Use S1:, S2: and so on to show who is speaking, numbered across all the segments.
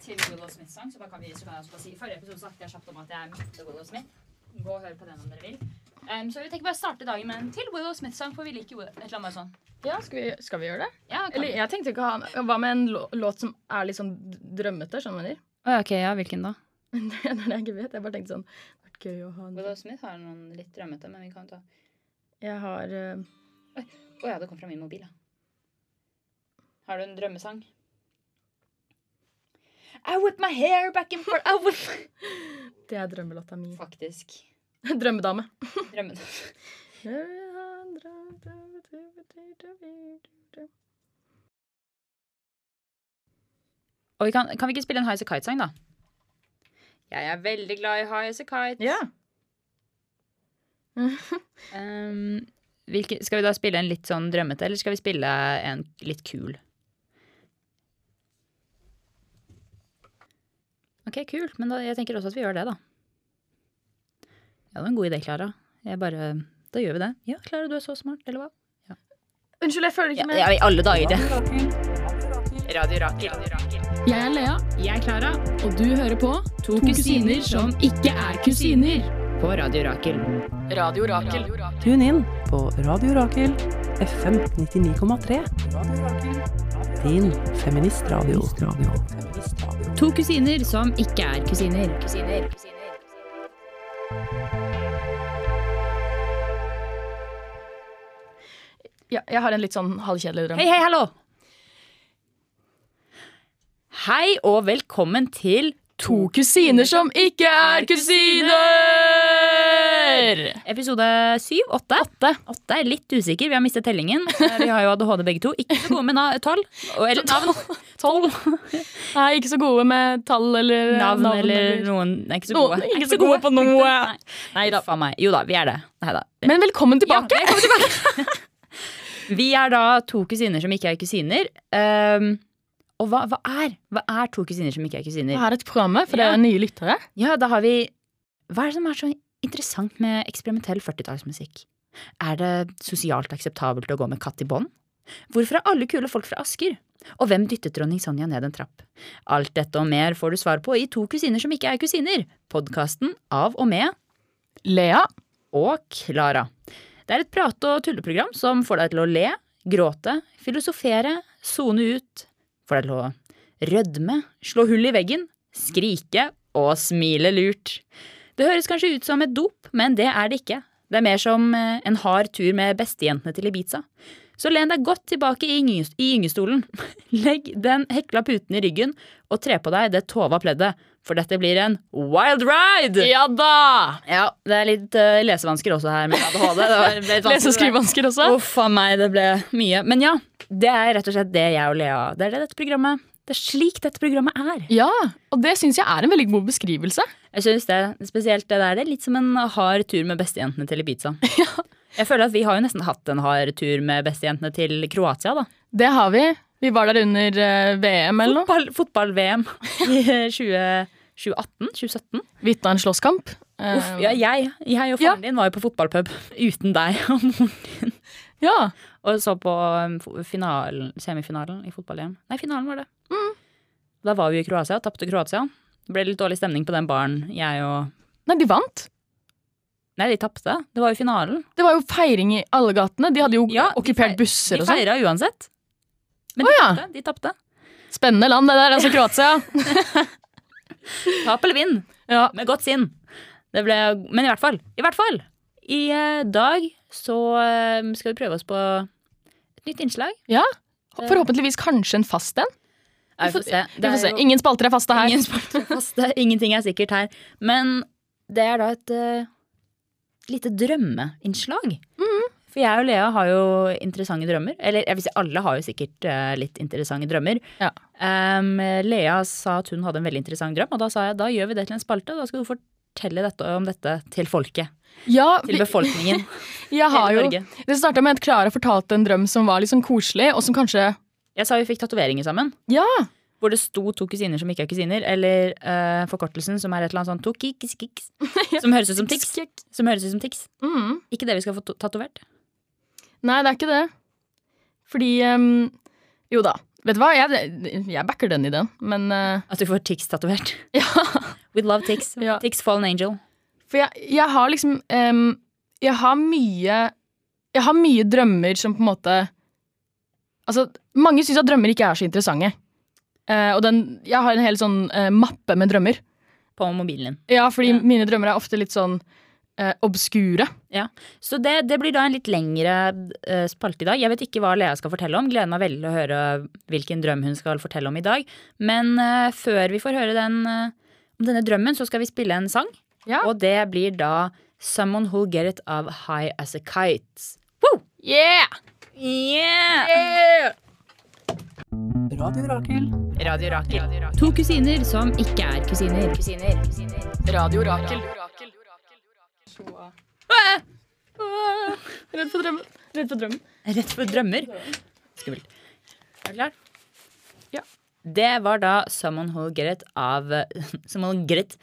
S1: til Willow Smith-sang, så, da kan vi- så kan jeg også bare si I forrige episode snakket jeg kjapt om at jeg møtte Willow Smith. Gå og hør på den om dere vil. Em, så vi tenker bare å starte dagen med en til Willow Smith-sang, for vi liker jo et eller annet sånn.
S2: Ja, skal vi, skal vi gjøre det?
S1: Ja, kan
S2: Eller jeg tenkte ikke å ha Hva med en lå- låt som er litt sånn d- drømmete? Skjønner du?
S3: Å ja, ok, ja, hvilken da?
S2: Det er det jeg ikke vet. Jeg bare tenkte sånn Det hadde vært gøy å ha en
S1: Willow Smith har noen litt drømmete, men vi kan ta Å
S2: Jeg har eh,
S1: ja, det kom fra min mobil, ja. Har du en drømmesang? I whip my hair back and forth I whip
S2: Det er drømmelåta mi.
S1: Faktisk.
S2: Drømmedame.
S1: Drømmen.
S3: Og vi kan, kan vi ikke spille en Highas Kite-sang, da?
S1: Jeg er veldig glad i High As A Kite.
S2: Ja.
S3: Ehm, hvilke, skal vi da spille en litt sånn drømmete, eller skal vi spille en litt kul? Ok, kult, men da, jeg tenker også at vi gjør det, da. Ja, det var en god idé, Klara. Jeg bare Da gjør vi det. Ja, Klara, du er så smart, eller hva?
S2: Unnskyld, jeg føler
S3: Ja,
S2: ikke med.
S3: i alle dager, det. Radio Rakel.
S4: Jeg er Lea, jeg er Klara, og du hører på To, kusiner som ikke er kusiner.
S3: På Radio Rakel.
S4: Radio Rakel.
S5: Tune inn på Radio Rakel FM 99,3. Din feministradio.
S3: To kusiner som ikke er kusiner.
S2: Ja, jeg har en litt sånn halvkjedelig drøm.
S3: Hei, hei, hallo! Hei og velkommen til To
S2: kusiner som ikke er kusiner!
S3: Episode syv? Åtte? Åtte. er litt usikker. Vi har mistet tellingen. Eh, Vi har jo ADHD begge to. Ikke så gode med na tall. Og- Eller navn.
S2: Tolv. Nei, ikke så gode med tall eller
S3: Navn eller noen Nei, Ikke så
S2: Noen-
S3: gode.
S2: ikke så gode på noe.
S3: Nei, Nei da, faen meg. Jo da, vi er det. Nei da.
S2: Men velkommen tilbake!
S3: Ja, velkommen tilbake. vi er da to kusiner som ikke er kusiner. Ehm, og hva, hva er Hva er to kusiner som ikke er
S2: Det
S3: kusiner?
S2: her er et program for dere
S3: Ja.
S2: nye lyttere.
S3: Ja, da har vi Hva er det som er så interessant med eksperimentell 40-tallsmusikk? Er det sosialt akseptabelt å gå med katt i bånd? Hvorfor er alle kule folk fra Asker? Og hvem dyttet dronning Sonja ned en trapp? Alt dette og mer får du svar på i To kusiner som ikke er kusiner, podkasten av og med
S2: Lea.
S3: og Klara. Det er et prate- og tulleprogram som får deg til å le, gråte, filosofere, sone ut, får deg til å rødme, slå hull i veggen, skrike og smile lurt. Det høres kanskje ut som et dop, men det er det ikke. Det er mer som eh, en hard tur med bestejentene til Ibiza. Så len deg godt tilbake i, gynge- i gyngestolen. Legg den hekla puten i ryggen og tre på deg det tova pleddet, for dette blir en wild ride!
S2: Ja da!
S3: Ja, det er litt eh, lesevansker også her med ADHD. Det var- det ble litt vanskelig.
S2: Lese- og skrivevansker også.
S3: Uff a meg, det ble mye. Men ja, det er rett og slett det jeg og Lea Det er det dette programmet Det er slik dette programmet er.
S2: Ja, og det syns jeg er en veldig god beskrivelse.
S3: Jeg synes det, Spesielt det der. Det er litt som en hard tur med bestejentene til Ibiza. Jeg føler at Vi har jo nesten hatt en hard tur med bestejentene til Kroatia. da
S2: Det har vi. Vi var der under eh, VM eller noe.
S3: Fotball- Fotball-VM i 20, 2018? 2017?
S2: Vitna en slåsskamp.
S3: Uff,
S2: Eh,
S3: ja, jeg, jeg og
S2: Ja.
S3: faren din var jo på fotballpub uten deg og moren din.
S2: ja.
S3: Og så på um, fo- finalen, semifinalen i fotball-EM. Nei, finalen var det. Da var vi i Kroatia, tapte Kroatia. Det ble litt dårlig stemning på den baren. Jeg og
S2: Nei, de vant.
S3: Nei, de tapte. Det var jo finalen.
S2: Det var jo feiring i alle gatene. De hadde jo
S3: Ja, de
S2: okkupert
S3: feir-
S2: busser
S3: De
S2: og sånn.
S3: feira uansett. Men de
S2: Å, ja.
S3: tapte. De tapte.
S2: Spennende land, det der. Altså Kroatia.
S3: Tap eller vinn,
S2: Ja.
S3: med godt sinn. Det ble Men i hvert fall. I hvert fall! I eh, dag så eh, skal vi prøve oss på et nytt innslag.
S2: ja. Forhåpentligvis kanskje en fast en.
S3: Nei, vi får se.
S2: Vi
S3: Det er
S2: får se.
S3: jo-
S2: Ingen spalter er faste her.
S3: Ingen spalter er fast. Det er- Ingenting er sikkert her. Men det er da et eh, lite drømmeinnslag.
S2: Mhm.
S3: For jeg og Lea har jo interessante drømmer. Eller jeg vil si alle har jo sikkert eh, litt interessante drømmer.
S2: Ja.
S3: Em, Lea sa at hun hadde en veldig interessant drøm, og da sa jeg da gjør vi det til en spalte. og Da skal du fortelle dette om dette til folket.
S2: Ja,
S3: Til
S2: vi-
S3: befolkningen.
S2: jeg har
S3: hele
S2: jo,
S3: Norge.
S2: det starta med at Klara fortalte en drøm som var litt sånn koselig, og som kanskje
S3: Jeg sa vi fikk tatoveringer sammen.
S2: Ja!
S3: Hvor det sto to kusiner som ikke er kusiner, eller eh, forkortelsen som er et eller annet sånn to kiks, kiks, som høres ut som tics. Som høres ut som tics.
S2: Mm.
S3: Ikke det vi skal få to- tatovert.
S2: Nei, det er ikke det. Fordi ehm, Jo da. Vet du hva, jeg, jeg backer den ideen, men eh,
S3: At du får Tix tatovert.
S2: ja.
S3: We love Tix.
S2: Ja.
S3: Tix Fallen Angel.
S2: For jeg, jeg har liksom em, Jeg har mye Jeg har mye drømmer som på en måte Altså, mange syns at drømmer ikke er så interessante. Eh, og den, jeg har en hel sånn eh, mappe med drømmer.
S3: På mobilen din.
S2: Ja, fordi
S3: Ja.
S2: mine drømmer er ofte litt sånn eh, obskure.
S3: Så det, det blir da en litt lengre eh, spalte i dag. Jeg vet ikke hva Lea skal fortelle om. Gleder meg veldig til å høre hvilken drøm hun skal fortelle om i dag. Men eh, før vi får høre den, eh, om denne drømmen, så skal vi spille en sang.
S2: Ja.
S3: Og det blir da Someone Who'll Get It av High As A Kite.
S2: Yeah!
S5: Radio Rakel.
S3: Radio Rakel.
S4: To kusiner som ikke er kusiner.
S2: Radio Rakel. Ah! Ah! Redd for drømmen. Redd for drømmen.
S3: Rett for drømmer. Skummelt. Er du klar?
S2: Ja.
S3: Det var da Someone Who'll Get It av Someone Get It.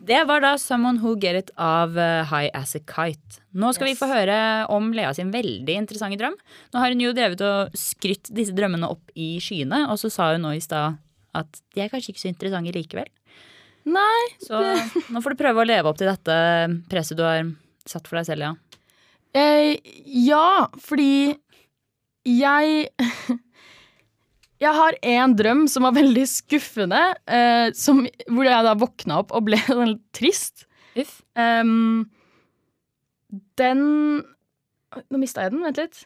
S3: Det var da Someone Who'll Get It av eh, High As A Kite. Nå skal vi få høre om Lea sin veldig interessante drøm. Nå har hun jo drevet og skrytt disse drømmene opp i skyene, og så sa hun nå i stad at de er kanskje ikke så interessante likevel.
S2: Nei.
S3: Så nå får du prøve å leve opp til dette presset du har satt for deg selv, ja.
S2: Eh, ja, fordi jeg Jeg har en drøm som var veldig skuffende, eh, som, hvor jeg da våkna opp og ble sånn litt trist.
S3: Uff.
S2: Em, den Oi, Nå mista jeg den. Vent litt.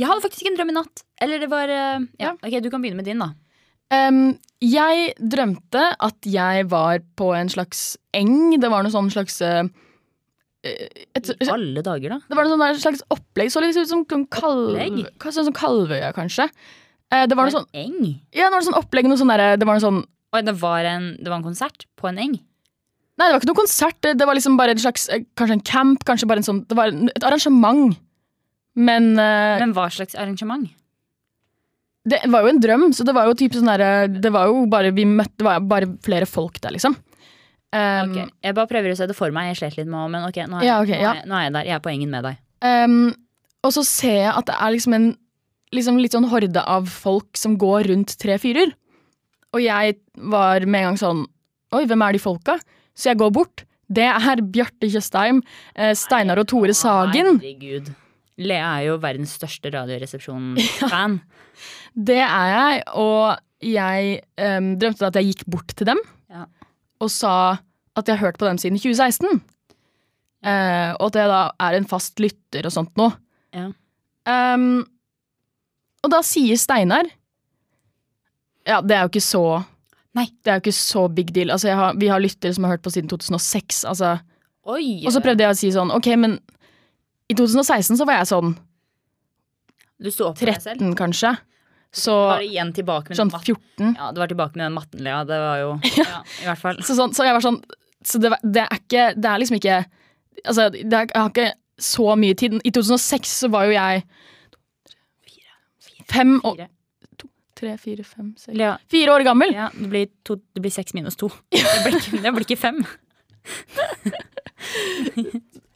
S3: Jeg hadde faktisk en drøm i natt. Eller det var eh, ja.
S2: Ja.
S3: Ok, du kan begynne med din, da.
S2: Em, jeg drømte at jeg var på en slags eng. Det var noe sånn slags eh, et,
S3: I alle dager, da.
S2: Det var noe sånn der slags opplegg. Så litt ut som sånn kalv,
S3: Opplegg?
S2: hva- sånn som Kalvøya, kanskje. Eh, det var noe sånn
S3: en eng.
S2: Ja, det var noe sånn opplegg noe sånn derre- Det var noe sånn
S3: Oi, det var, en, det var en konsert på en eng.
S2: Nei, det var ikke noe konsert. Det, det var liksom bare et slags eh, Kanskje en camp. Kanskje bare en sånn Det var en- et arrangement. Men eh,
S3: Men hva slags arrangement?
S2: det var jo en drøm, så det var jo typ sånn derre Det var jo bare vi møtte Det var bare flere folk der, liksom. Um,
S3: Ok, Jeg bare prøver å se det for meg. Jeg slet litt med å- men ok, nå er,
S2: Ja, ok, ja.
S3: nå, er, nå er jeg der. Jeg er på engen med deg.
S2: um, og så ser jeg at det er liksom en liksom litt sånn horde av folk som går rundt tre fyrer. Og jeg var med en gang sånn Oi, hvem er de folka? Så jeg går bort. Det er Bjarte Tjøstheim, eh, Steinar og Tore Sagen.
S3: Herregud. Lea er jo verdens største Radioresepsjon-fan.
S2: Det er jeg, og jeg em, drømte at jeg gikk bort til dem
S3: Ja.
S2: og sa at jeg har hørt på dem siden 2016. Eh, og at jeg da er en fast lytter og sånt nå.
S3: Ja.
S2: Em, og da sier Steinar Ja, det er jo ikke så
S3: Nei.
S2: Det er jo ikke så big deal. Altså, jeg har, vi har lyttere som har hørt på siden 2006. Altså,
S3: Oi!
S2: Og så prøvde jeg å si sånn Ok, men i 2016 så var jeg sånn
S3: Du sto opp for deg selv.
S2: 13, kanskje. Så
S3: Bare igjen tilbake med den
S2: sånn
S3: matten.
S2: 14.
S3: Ja, du var tilbake med den matten, Lea. Det var jo ja, I hvert fall.
S2: Så, sånn, så jeg var sånn Så det, var- det er ikke Det er liksom ikke Altså, det er, jeg har ikke så mye tid. I 2006 så var jo jeg Fem og
S3: Fire.
S2: to, Tre, fire, fem, seks
S3: Lea,
S2: Fire år gammel!
S3: Ja, det blir, to, det blir seks minus to. Det blir, ikke- det blir ikke fem.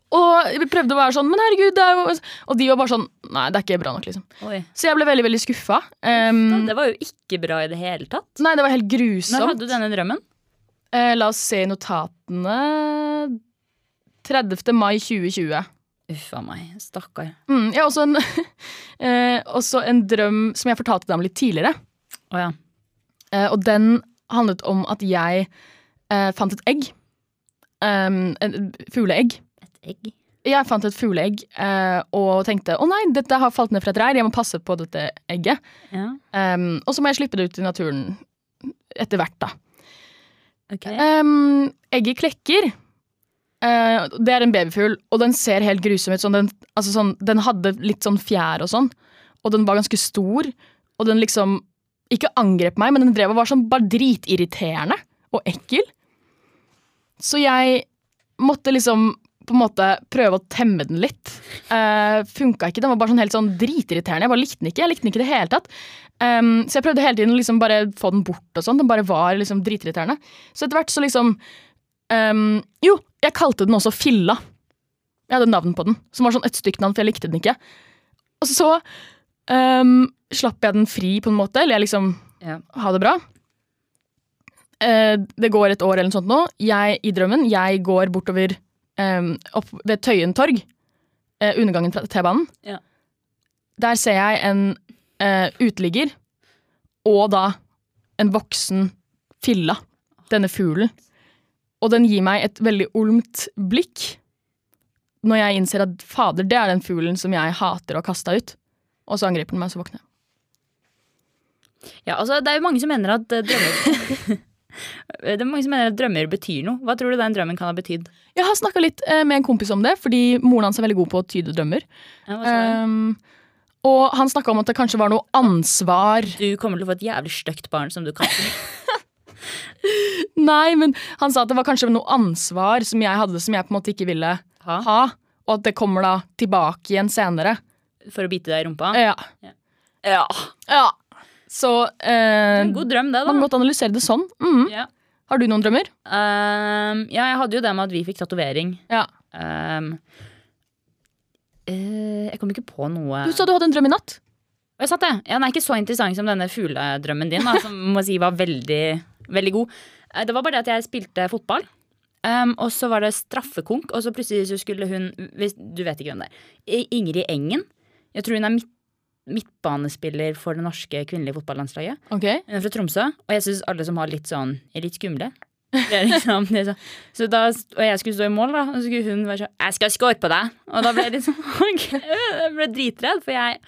S2: Og vi prøvde å være sånn Men herregud, det er jo Og de var bare sånn Nei, det er ikke bra nok, liksom.
S3: Oi.
S2: Så jeg ble veldig, veldig skuffa.
S3: Da,
S2: Ehm,
S3: Det var jo ikke bra i det hele tatt.
S2: nei, det var helt
S3: Mm. Når
S2: grusomt.
S3: hadde du denne drømmen?
S2: Eh, la oss se i notatene 30. mai 2020.
S3: Uff a meg, stakkar.
S2: Mm, jeg har også en, eh, også en drøm som jeg fortalte deg om litt tidligere.
S3: Å ja.
S2: Eh, og den handlet om at jeg eh, fant et egg. Um, en fugleegg.
S3: Et egg.
S2: Jeg fant et fugleegg eh, og tenkte å nei, dette har falt ned fra et reir, jeg må passe på dette egget.
S3: Ja,
S2: Um, og så må jeg slippe det ut i naturen etter hvert, da.
S3: ok.
S2: Um, egget klekker. Eh, det er en babyfugl, og den ser helt grusom ut. Sånn, den, altså sånn, den hadde litt sånn fjær og sånn, og den var ganske stor. Og den liksom ikke angrep meg, men den drev og var sånn bare dritirriterende og ekkel. Så jeg måtte liksom på en måte prøve å temme den litt. Uh, funka ikke. Den var bare sånn helt sånn dritirriterende. Jeg bare likte den ikke. Jeg likte den ikke i det hele tatt. Um, så jeg prøvde hele tiden å liksom bare få den bort og sånn. Den bare var liksom dritirriterende. Så etter hvert så liksom ehm, Jo, jeg kalte den også Filla. Jeg hadde navn på den, som var sånn et stygt navn, for jeg likte den ikke. Og så ehm, slapp jeg den fri, på en måte. Eller jeg liksom
S3: Ja.
S2: Ha det bra. Eh, det går et år eller noe sånt nå. Jeg, I drømmen, jeg går bortover ehm, opp ved Tøyen torg. eh, undergangen fra T-banen.
S3: Ja.
S2: Der ser jeg en eh, uteligger og da en voksen filla. Denne fuglen. Og den gir meg et veldig olmt blikk når jeg innser at fader, det er den fuglen som jeg hater å kaste ut. Og så angriper den meg, og så våkner jeg.
S3: Ja, altså Det er jo mange som mener at eh, drømmer Det er mange som mener at drømmer betyr noe. Hva tror du den drømmen kan ha betydd?
S2: Jeg har snakka litt eh, med en kompis om det, fordi moren hans er veldig god på å tyde drømmer.
S3: Ja, hva sa du?
S2: Um, og han snakka om at det kanskje var noe ansvar
S3: du kommer til å få et jævlig stygt barn som du kaster.
S2: Nei, men han sa at det var kanskje noe ansvar som jeg hadde som jeg på en måte ikke ville
S3: Ha.
S2: ha. Og at det kommer da tilbake igjen senere.
S3: For å bite deg i rumpa.
S2: Ja.
S3: Ja.
S2: ja. Så eh,
S3: En god drøm, det,
S2: man kan
S3: da.
S2: godt analysere det sånn. Mhm.
S3: Ja.
S2: Har du noen drømmer?
S3: Ehm, ja, jeg hadde jo det med at vi fikk tatovering.
S2: Ja.
S3: Ehm, eh, jeg kom ikke på noe
S2: Du sa du hadde en drøm i natt.
S3: Og Jeg satt det. Ja, den er ikke så interessant som denne fugledrømmen din, da, som må si var veldig, veldig god. Eh, Det var bare det at jeg spilte fotball. Um, og så var det straffekonk, og så plutselig så skulle hun hvis, Du vet ikke hvem det er. I- Ingrid Engen. Jeg tror hun er midt, midtbanespiller for det norske kvinnelige fotballandslaget.
S2: Ok.
S3: Hun er fra Tromsø, og jeg syns alle som har litt sånn, er litt skumle. Det er liksom, det er så, så da, og jeg skulle stå i mål, da, og så skulle hun være sånn 'Jeg skal score på deg!' Og da ble jeg litt sånn, ok, jeg ble dritredd, for jeg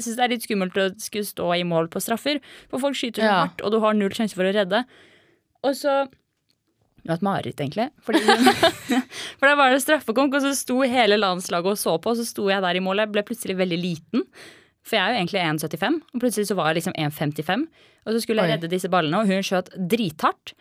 S3: syns det er litt skummelt å skulle stå i mål på straffer. For folk skyter så
S2: Ja.
S3: hardt, og du har null sjanse for å redde. Og så Det var et mareritt, egentlig. Fordi hun, for da var det straffekonk, og så sto hele landslaget og så på, og så sto jeg der i mål. Jeg ble plutselig veldig liten. For jeg er jo egentlig 1,75, og plutselig så var jeg liksom 1,55. Og så skulle jeg
S2: Oi.
S3: redde disse ballene, og hun skjøt drithardt.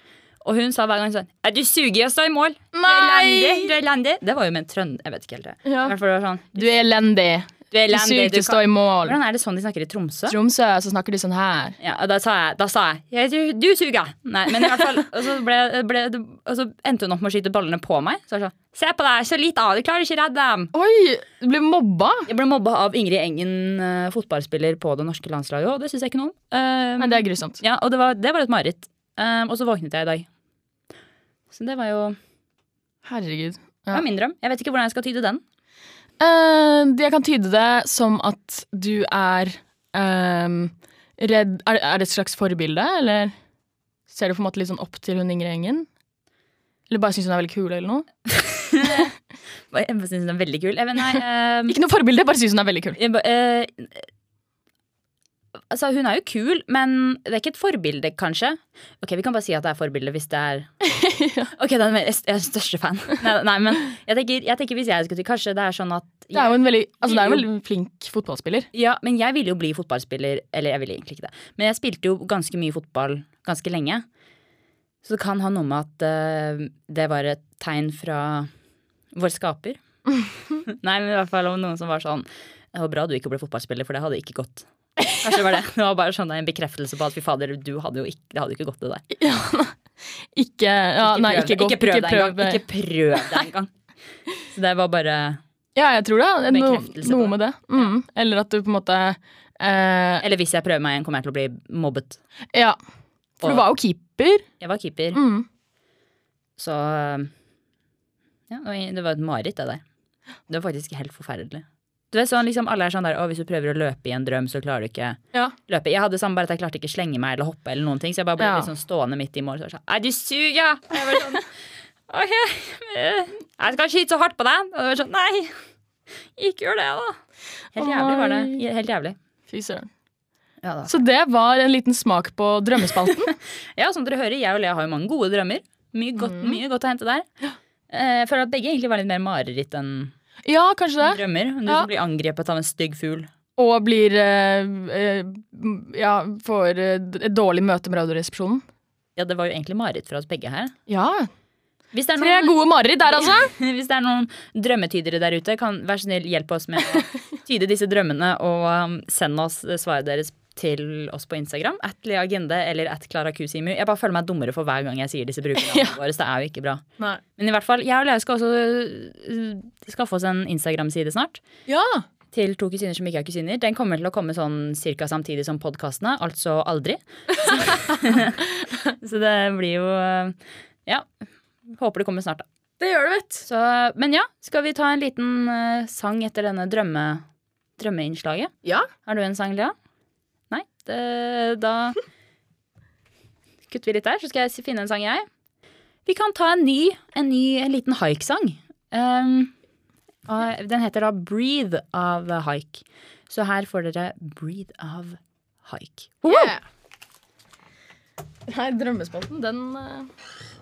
S3: Og hun sa hver gang sånn «Ja, Du suger i å stå i mål! Du er elendig! Du er elendig! Det var jo med en trønder Jeg vet ikke helt det.
S2: Ja.
S3: I hvert fall det var sånn
S2: Du er elendig.
S3: Du er
S2: Du
S3: elendig!
S2: suger
S3: Du
S2: til å stå
S3: kan...
S2: i mål.
S3: Hvordan er det sånn de snakker i Tromsø?
S2: Tromsø, så snakker de sånn her.
S3: Ja, og da sa jeg, da sa jeg «Ja, du, du suger! Nei, men i hvert fall Og så, ble, ble, og så endte hun opp med å skyte ballene på meg. Så jeg sa Se på deg! Så lite av! Du klarer ikke å redde dem!
S2: Oi, du ble mobba?
S3: Jeg ble mobba av Ingrid Engen, eh, fotballspiller på det norske landslaget, og det syns jeg ikke noe om. Eh,
S2: Nei, det er grusomt.
S3: Ja, og det var, det var et mareritt. Ehm, og så våknet jeg i dag. Så det var jo
S2: Herregud.
S3: det var min drøm. Jeg vet ikke hvordan jeg skal tyde den.
S2: Eh, jeg kan tyde det som at du er ehm, redd er, er det et slags forbilde, eller ser du på en måte litt sånn opp til hun Ingrid Engen? Eller bare syns hun er veldig kul, eller noe?
S3: Jeg synes den er veldig kul. Jeg vet, nei, ehm,
S2: Ikke noe forbilde, bare syns hun er veldig kul.
S3: jeg ba- eh, altså, hun er jo kul, men det er ikke et forbilde, kanskje. Ok, Vi kan bare si at det er forbilde hvis det er Ok, da er jeg jeg er største fan. Nei, nei men jeg tenker, jeg tenker hvis jeg skulle til Kanskje det er sånn at
S2: Det er jo en veldig, altså, det er jo en veldig flink fotballspiller.
S3: Ja, men jeg ville jo bli fotballspiller. Eller jeg ville egentlig ikke det. Men jeg spilte jo ganske mye fotball ganske lenge. Så det kan ha noe med at eh, det var et tegn fra vår skaper. Nei, men i hvert fall om noen som var sånn Det var bra du ikke ble fotballspiller, for det hadde ikke gått. Kanskje det var det. Det var bare sånn en bekreftelse på at fy fader, du hadde jo ikke, det hadde jo ikke gått det der.
S2: Ikke ja, Nei,
S3: prøv
S2: ikke
S3: det.
S2: gå
S3: ikke prøv det engang.
S2: prøv-
S3: Ikke prøv det engang. Så det var bare
S2: Ja, jeg tror det. er No,
S3: Bekreftelse på
S2: noe
S3: det.
S2: med det. Mm. Eller at du på en måte eh,
S3: Eller hvis jeg prøver meg igjen, kommer jeg til å bli mobbet.
S2: Ja. For du
S3: Og-
S2: var jo keeper.
S3: Jeg var keeper.
S2: Mm.
S3: Så eh, ja, det var- det var et mareritt, det der. Det var faktisk helt forferdelig. Du vet sånn, liksom Alle er sånn der å, hvis du prøver å løpe i en drøm, så klarer du ikke
S2: Ja.
S3: løpe. Jeg hadde samme bare at jeg klarte ikke slenge meg eller hoppe eller noen ting, så jeg bare ble
S2: Ja.
S3: litt sånn stående midt i mål så var jeg sånn Nei, du suger! Og Jeg var sånn OK, eh, jeg skal skyte så hardt på deg. Og det var sånn Nei! Ikke gjør det, da. Helt
S2: Å,
S3: jævlig var det.
S2: nei.
S3: Helt jævlig.
S2: Fy søren.
S3: Ja, da.
S2: Så det var en liten smak på drømmespalten.
S3: ja, som dere hører, jeg og Lea har jo mange gode drømmer. Mye godt, mye godt å hente der. Eh, Jeg føler at begge egentlig var litt mer mareritt enn
S2: Ja, kanskje det.
S3: drømmer. Du
S2: Ja.
S3: som blir angrepet av en stygg fugl.
S2: Og blir eh, eh, Ja, får eh, d- et dårlig møte med Radioresepsjonen.
S3: Ja, det var jo egentlig mareritt fra oss begge her.
S2: Ja.
S3: Hvis det er
S2: Tre
S3: noen,
S2: gode mareritt der, altså.
S3: hvis det er noen drømmetydere der ute, kan vær så snill hjelpe oss med å tyde disse drømmene, og um, send oss eh, svaret deres til oss på Instagram. At Lea Agende eller at Klara Kusimu. Jeg bare føler meg dummere for hver gang jeg sier disse brukerne våre. så Det er jo ikke bra.
S2: Nei.
S3: Men i hvert fall, jeg og Lea skal også eh, skaffe oss en Instagram-side snart.
S2: Ja.
S3: til To kusiner som ikke er kusiner. Den kommer til å komme sånn cirka samtidig som podkastene, altså aldri. Så, så det blir jo eh, Ja. Håper det kommer snart, da.
S2: Det gjør det, vet
S3: Så, men ja, skal vi ta en liten eh, sang etter denne drømme, drømmeinnslaget?
S2: Ja.
S3: Har du en sang, Lea? Nei? Det, da kutter vi litt der, så skal jeg si- finne en sang, jeg. Vi kan ta en ny, en ny en liten haik-sang. Um, og den heter da 'Breathe' av Haik. Så her får dere 'Breathe' av Haik.
S2: Yeah. Nei, drømmespalten, den eh,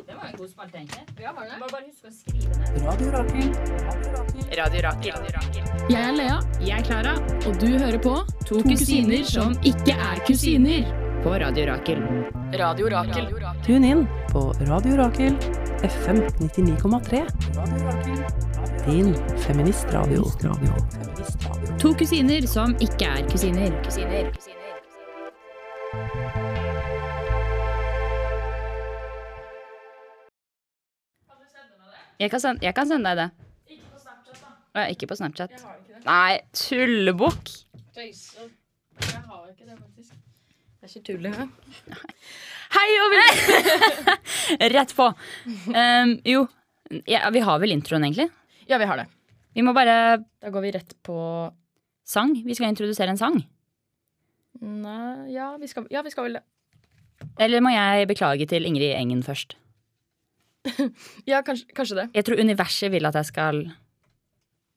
S1: Det var en god spalte, egentlig. Ja, var det? Bare, bare husk å skrive ned.
S5: Radio Rakel. Radio Rakel.
S4: Jeg er Lea. Jeg er Klara. Og du hører på To kusiner som ikke er kusiner.
S3: På Radio Rakel.
S2: Radio Rakel.
S5: Tune inn på Radio Rakel FM 99,3. Din feministradio.
S3: To kusiner som ikke er kusiner. Jeg kan, sende, jeg kan sende deg det. Å, ja, Ikke på Snapchat, da. Nei, tullebukk!
S2: Det er ikke tull engang. Hei og velkommen!
S3: Rett på! Ehm, jo, ja, vi har vel introen, egentlig.
S2: Ja, vi har det.
S3: Vi må bare
S2: Da går vi rett på
S3: Sang. Vi skal introdusere en sang.
S2: Nei, ja, vi skal, ja, vi skal vel det.
S3: Eller må jeg beklage til Ingrid Engen først?
S2: Ja, kanskje, kanskje det.
S3: Jeg tror universet vil at jeg skal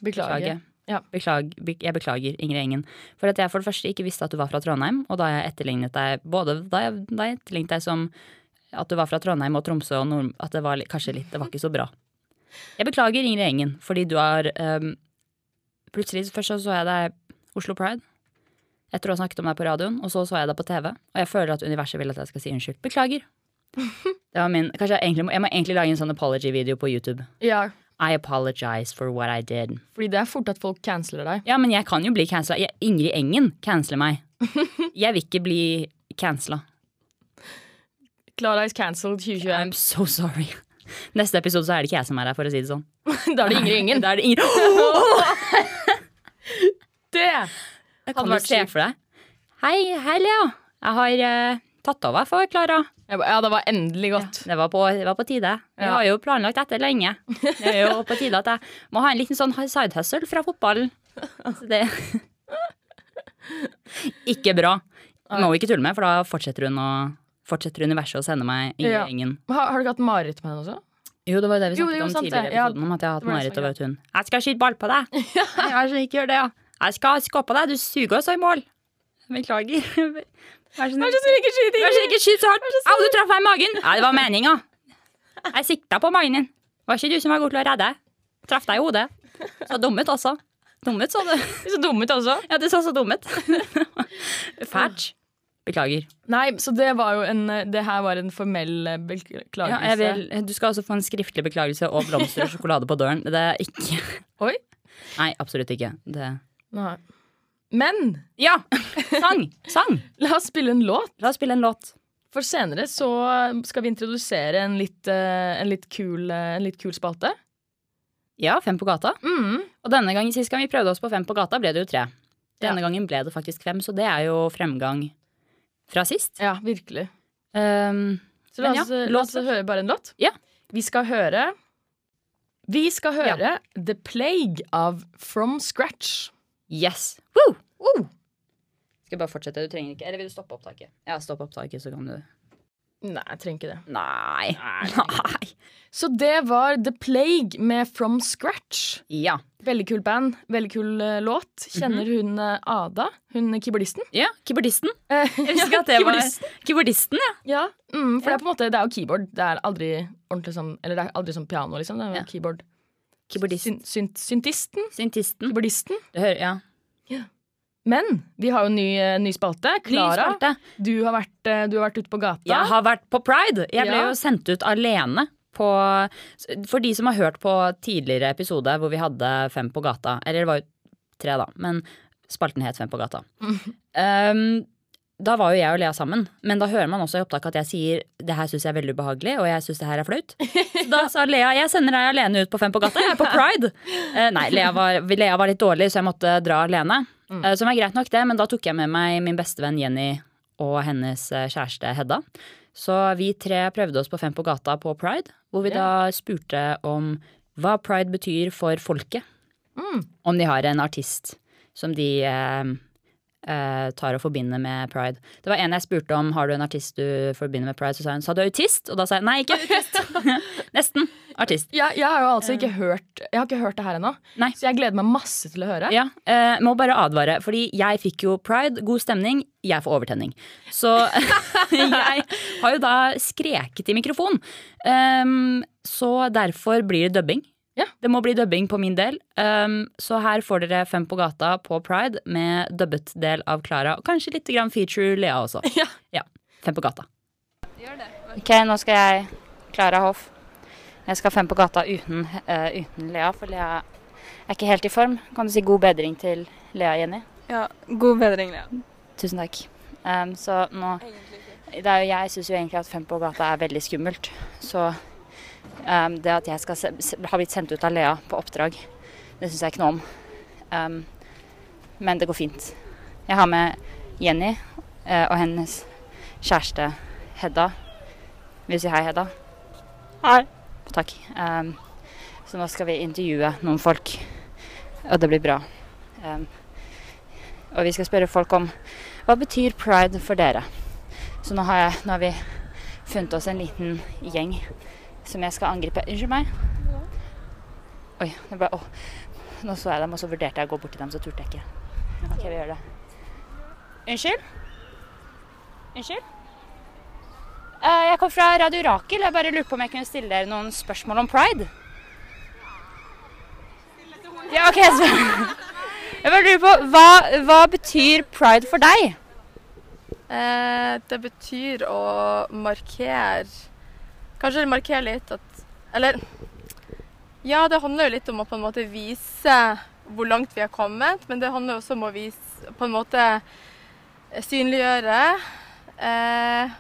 S2: Beklager.
S3: Beklage.
S2: Ja.
S3: Beklag, be, jeg beklager, Ingrid Engen. For at jeg for det første ikke visste at du var fra Trondheim, og da jeg etterlignet deg både da jeg, da jeg etterlignet deg som at du var fra Trondheim og Tromsø, og Nord, at det var li- kanskje litt Det var ikke så bra. Jeg beklager, Ingrid Engen, fordi du har ehm, Plutselig først så, så jeg deg Oslo Pride. Etter å ha snakket om deg på radioen, og så så jeg deg på TV. Og jeg føler at universet vil at jeg skal si unnskyld. Beklager. Det var min, kanskje jeg, egentlig, må- jeg må egentlig lage en sånn apology-video på YouTube.
S2: Ja,
S3: I apologize for what I did.
S2: fordi det er fort at folk canceler deg.
S3: Ja, men jeg kan jo bli cancela. Jeg- Ingrid Engen canceler meg. Jeg vil ikke bli cancela.
S2: Klara is cancelled 2021.
S3: I'm so sorry. Neste episode så er det ikke jeg som er her, for å si det sånn.
S2: Da er det Ingrid Ingen.
S3: Da er det Ingrid. Åh!
S2: Det
S3: Kan
S2: hadde
S3: du
S2: vært
S3: se
S2: sykt.
S3: for deg? Hei, hei Lea. Jeg har eh, tatt over for Klara.
S2: Jeg ba, ja, det var endelig godt.
S3: Det var på, det var på tide. Vi
S2: Ja.
S3: har jo planlagt dette lenge. Det er jo på tide at jeg må ha en liten sånn side hustle fra fotballen. Så det Ikke bra. Må ikke tulle med, for da fortsetter hun å Fortsetter universet å sende meg Ingrid
S2: Ja.
S3: Engen.
S2: Har, har du ikke hatt mareritt med henne også?
S3: Jo, det var jo det vi
S2: Jo,
S3: snakket
S2: det er jo
S3: om
S2: sant
S3: tidligere i
S2: det. Ja,
S3: episoden, om at jeg har hatt
S2: det var det
S3: mareritt
S2: jeg
S3: over at hun Jeg skal skyte ball på deg! Nei, Jeg skal ikke gjøre det, ja. Jeg skal skåpe deg, du suger også i mål. Beklager. Vær så snill. Vær så snill, ikke skyt så hardt. Au, du traff meg i magen! Ja, det var meninga. Jeg sikta på mannen din. Var ikke du som var god til å redde? Traff deg i hodet. Så dum ut også. Dum ut, så du.
S2: Så dum ut altså. også.
S3: Ja, du så så dum ut. Fælt. Beklager.
S2: Nei, så det var jo en eh, Det her var en formell eh, beklagelse.
S3: Ja, jeg vil, du skal også få en skriftlig beklagelse og blomster og sjokolade på døren. Det er ikke
S2: Oi.
S3: Nei, absolutt ikke. Det
S2: Nei. Men
S3: Ja! Sang! Sang!
S2: la oss spille en låt.
S3: La oss spille en låt.
S2: For senere så skal vi introdusere en litt, eh, en litt, kul, eh, en litt kul spalte.
S3: Ja, Fem på gata.
S2: Mm.
S3: Og denne gangen sist gang vi prøvde oss på Fem på gata, ble det jo tre. Denne gangen ble det faktisk fem, så det er jo fremgang fra sist.
S2: Ja, virkelig.
S3: Ehm,
S2: Så la
S3: Men ja,
S2: oss, eh, la
S3: låt
S2: oss
S3: først.
S2: høre bare en låt.
S3: Ja.
S2: Vi skal høre Vi skal høre The Plague av From Scratch.
S3: yes! Woo! Skal jeg bare fortsette? Du trenger ikke Eller vil du stoppe opptaket? Ja, stopp opptaket, så kan du
S2: Nei, jeg trenger ikke det.
S3: Nei. Nei.
S2: Så det var The Plague med From Scratch.
S3: Ja.
S2: Veldig kul band, veldig kul eh, låt. Kjenner hun eh, Ada, hun keyboardisten?
S3: ja. Keyboardisten.
S2: Eh,
S3: Jeg husker at det var
S2: keyboardisten.
S3: Keyboardisten, ja.
S2: Ja, mm, for det er på en måte Det er jo keyboard. Det er aldri ordentlig som Eller det er aldri som piano, liksom. Det er jo
S3: Ja.
S2: keyboard.
S3: Keyboardisten.
S2: Syn, synt, syntisten?
S3: Syntisten.
S2: Keyboardisten?
S3: Du hører, ja.
S2: Men vi har jo en ny, eh, ny spalte. Klara,
S3: spalte.
S2: du, har vært, eh, du har vært ute på gata.
S3: Jeg har vært på Pride. Jeg ble
S2: Ja.
S3: jo sendt ut alene. På, for de som har hørt på tidligere episode hvor vi hadde Fem på gata Eller det var jo tre, da, men spalten het Fem på gata. Um,
S6: Ehm, da var jo jeg og Lea sammen, men da hører man også i opptaket at jeg sier det her syns jeg er veldig ubehagelig, og jeg syns det her er flaut. Så da sa Lea jeg sender deg alene ut på Fem på gata, jeg er på pride. Eh, nei, Lea var, Lea var litt dårlig, så jeg måtte dra alene. Eh, som er greit nok, det, men da tok jeg med meg min bestevenn Jenny og hennes eh, kjæreste Hedda. Så vi tre prøvde oss på Fem på gata på pride, hvor vi da spurte om hva pride betyr for folket. Om de har en artist som de eh, eh, tar og forbinder med pride. Det var en jeg spurte om har du en artist du forbinder med pride. Så sa hun sa du autist? Og da sa jeg nei, ikke autist. Nesten artist.
S2: Jeg, jeg har jo altså ikke hørt Jeg har ikke hørt det her ennå,
S6: Nei.
S2: så jeg gleder meg masse til å høre.
S6: Ja, eh, Må bare advare, fordi jeg fikk jo pride, god stemning, jeg får overtenning. Så jeg har jo da skreket i mikrofon. Ehm, så derfor blir det dubbing.
S2: Ja.
S6: Det må bli dubbing på min del. Ehm, så her får dere Fem på gata på pride med dubbet del av Klara. Og kanskje litt grann feature Lea også.
S2: Ja.
S6: Fem på gata.
S3: Ok, nå skal jeg Klara Hoff. Jeg skal fem på gata uten, eh, uten Lea, for Lea er ikke helt i form. Kan du si god bedring til Lea, Jenny?
S7: Ja, god bedring, Lea.
S3: Tusen takk. Em, så nå det er jo, Jeg syns jo egentlig at Fem på gata er veldig skummelt. Så em, det at jeg skal se, se, har blitt sendt ut av Lea på oppdrag, det syns jeg ikke noe om. Em, men det går fint. Jeg har med Jenny eh, og hennes kjæreste Hedda. Vil du si hei, Hedda?
S7: Hei.
S3: Takk. Em, så nå skal vi intervjue noen folk, og det blir bra. Em, og vi skal spørre folk om hva betyr pride for dere? Så nå har, jeg, nå har vi funnet oss en liten gjeng som jeg skal angripe. Unnskyld meg. Oi, nå ble Åh. Nå så jeg dem, og så vurderte jeg å gå bort til dem, så turte jeg ikke. OK, vi gjør det. Unnskyld? Unnskyld? Eh, jeg kom fra Radio Rakel. Jeg bare lurte på om jeg kunne stille dere noen spørsmål om pride. Ja, OK, så Jeg bare lurer på hva, hva betyr pride for deg?
S7: Eh, det betyr å markere Kanskje markere litt at Eller Ja, det handler jo litt om å på en måte vise hvor langt vi har kommet, men det handler også om å vise På en måte synliggjøre eh,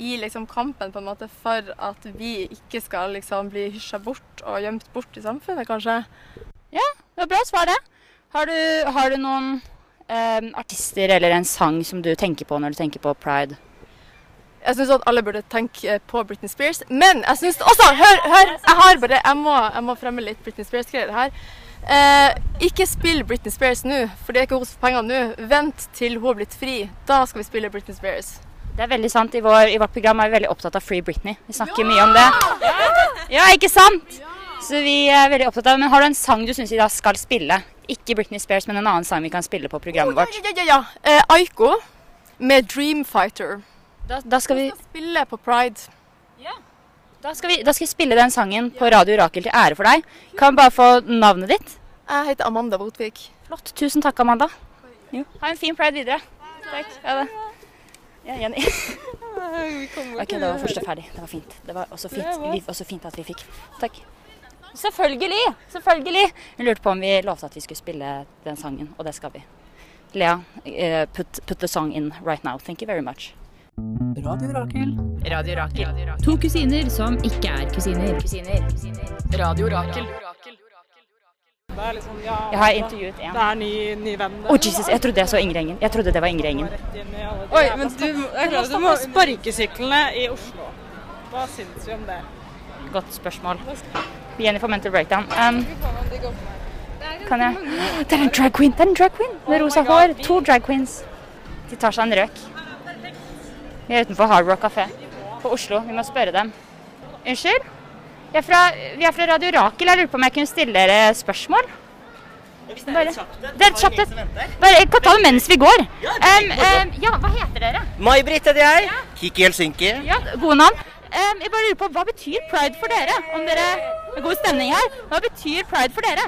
S7: i liksom kampen på en måte for at vi ikke skal liksom bli hysja bort og gjemt bort i samfunnet, kanskje.
S3: Det var bra svar, det. Har du, har du noen eh, artister eller en sang som du tenker på når du tenker på pride?
S7: Jeg syns at alle burde tenke eh, på Britney Spears, men jeg syns også Hør, hør! Jeg har bare Jeg må, jeg må fremme litt Britney Spears-greier her. Eh, ikke spill Britney Spears nå, for det er ikke hun som får pengene nå. Vent til hun har blitt fri. Da skal vi spille Britney Spears.
S3: Det er veldig sant. I, vår, I vårt program er vi veldig opptatt av Free Britney. Vi snakker mye om det. Ja, ikke sant? Så vi er veldig opptatt av Men har du en sang du syns vi da skal spille? Ikke Britney Spears, men en annen sang vi kan spille på programmet
S7: Ja,
S3: vårt.
S7: ja, ja, ja. Eh, Aiko med Dreamfighter.
S3: Da, da, skal vi,
S7: Spille på Pride.
S3: da, skal vi, da skal vi spille den sangen på Radio Rakel til ære for deg. Kan vi bare få navnet ditt?
S7: Jeg heter Amanda Botvik.
S3: Flott. Tusen takk, Amanda. Jo. Ha en fin pride videre. Takk. Ha det. Ja, Jenny. Ok, det var første ferdig. Det var fint. Det var også fint, vi, også fint at vi fikk. Takk. Selvfølgelig! Selvfølgelig! Hun lurte på om vi lovte at vi skulle spille den sangen, og det skal vi. Lea, eh, put, put the song in right now. Thank you very much.
S5: Radio Rakel.
S6: Radio Rakel.
S8: To kusiner som ikke er kusiner.
S2: Radio Rakel.
S3: Jeg har intervjuet en. Det er ny, venn. Oh, Jesus, jeg trodde jeg så Ingrid Engen. Jeg trodde det var Ingrid Engen.
S9: Oi, men du, jeg klarer, du må sparkesyklene i Oslo. Hva syns vi om det?
S3: Godt spørsmål. Jenny får mental breakdown. Um, kan jeg Det er en drag queen! Det er en drag queen med rosa hår. To drag queens. De tar seg en røk. Vi er utenfor Hard Rock kafé på Oslo. Vi må spørre dem. Unnskyld? Vi er fra, vi er fra Radio Rakel. Jeg lurer på om jeg kunne stille dere spørsmål? Bare, det er et kjapt et. Bare, jeg kan ta det mens vi går. Um, um, ja, hva heter dere?
S10: May-Britt heter jeg. Kikki Helsinki.
S3: Ja, gode navn. Ehm, jeg bare lurer på, Hva betyr pride for dere? Om dere det er God stemning her. Hva betyr pride for dere?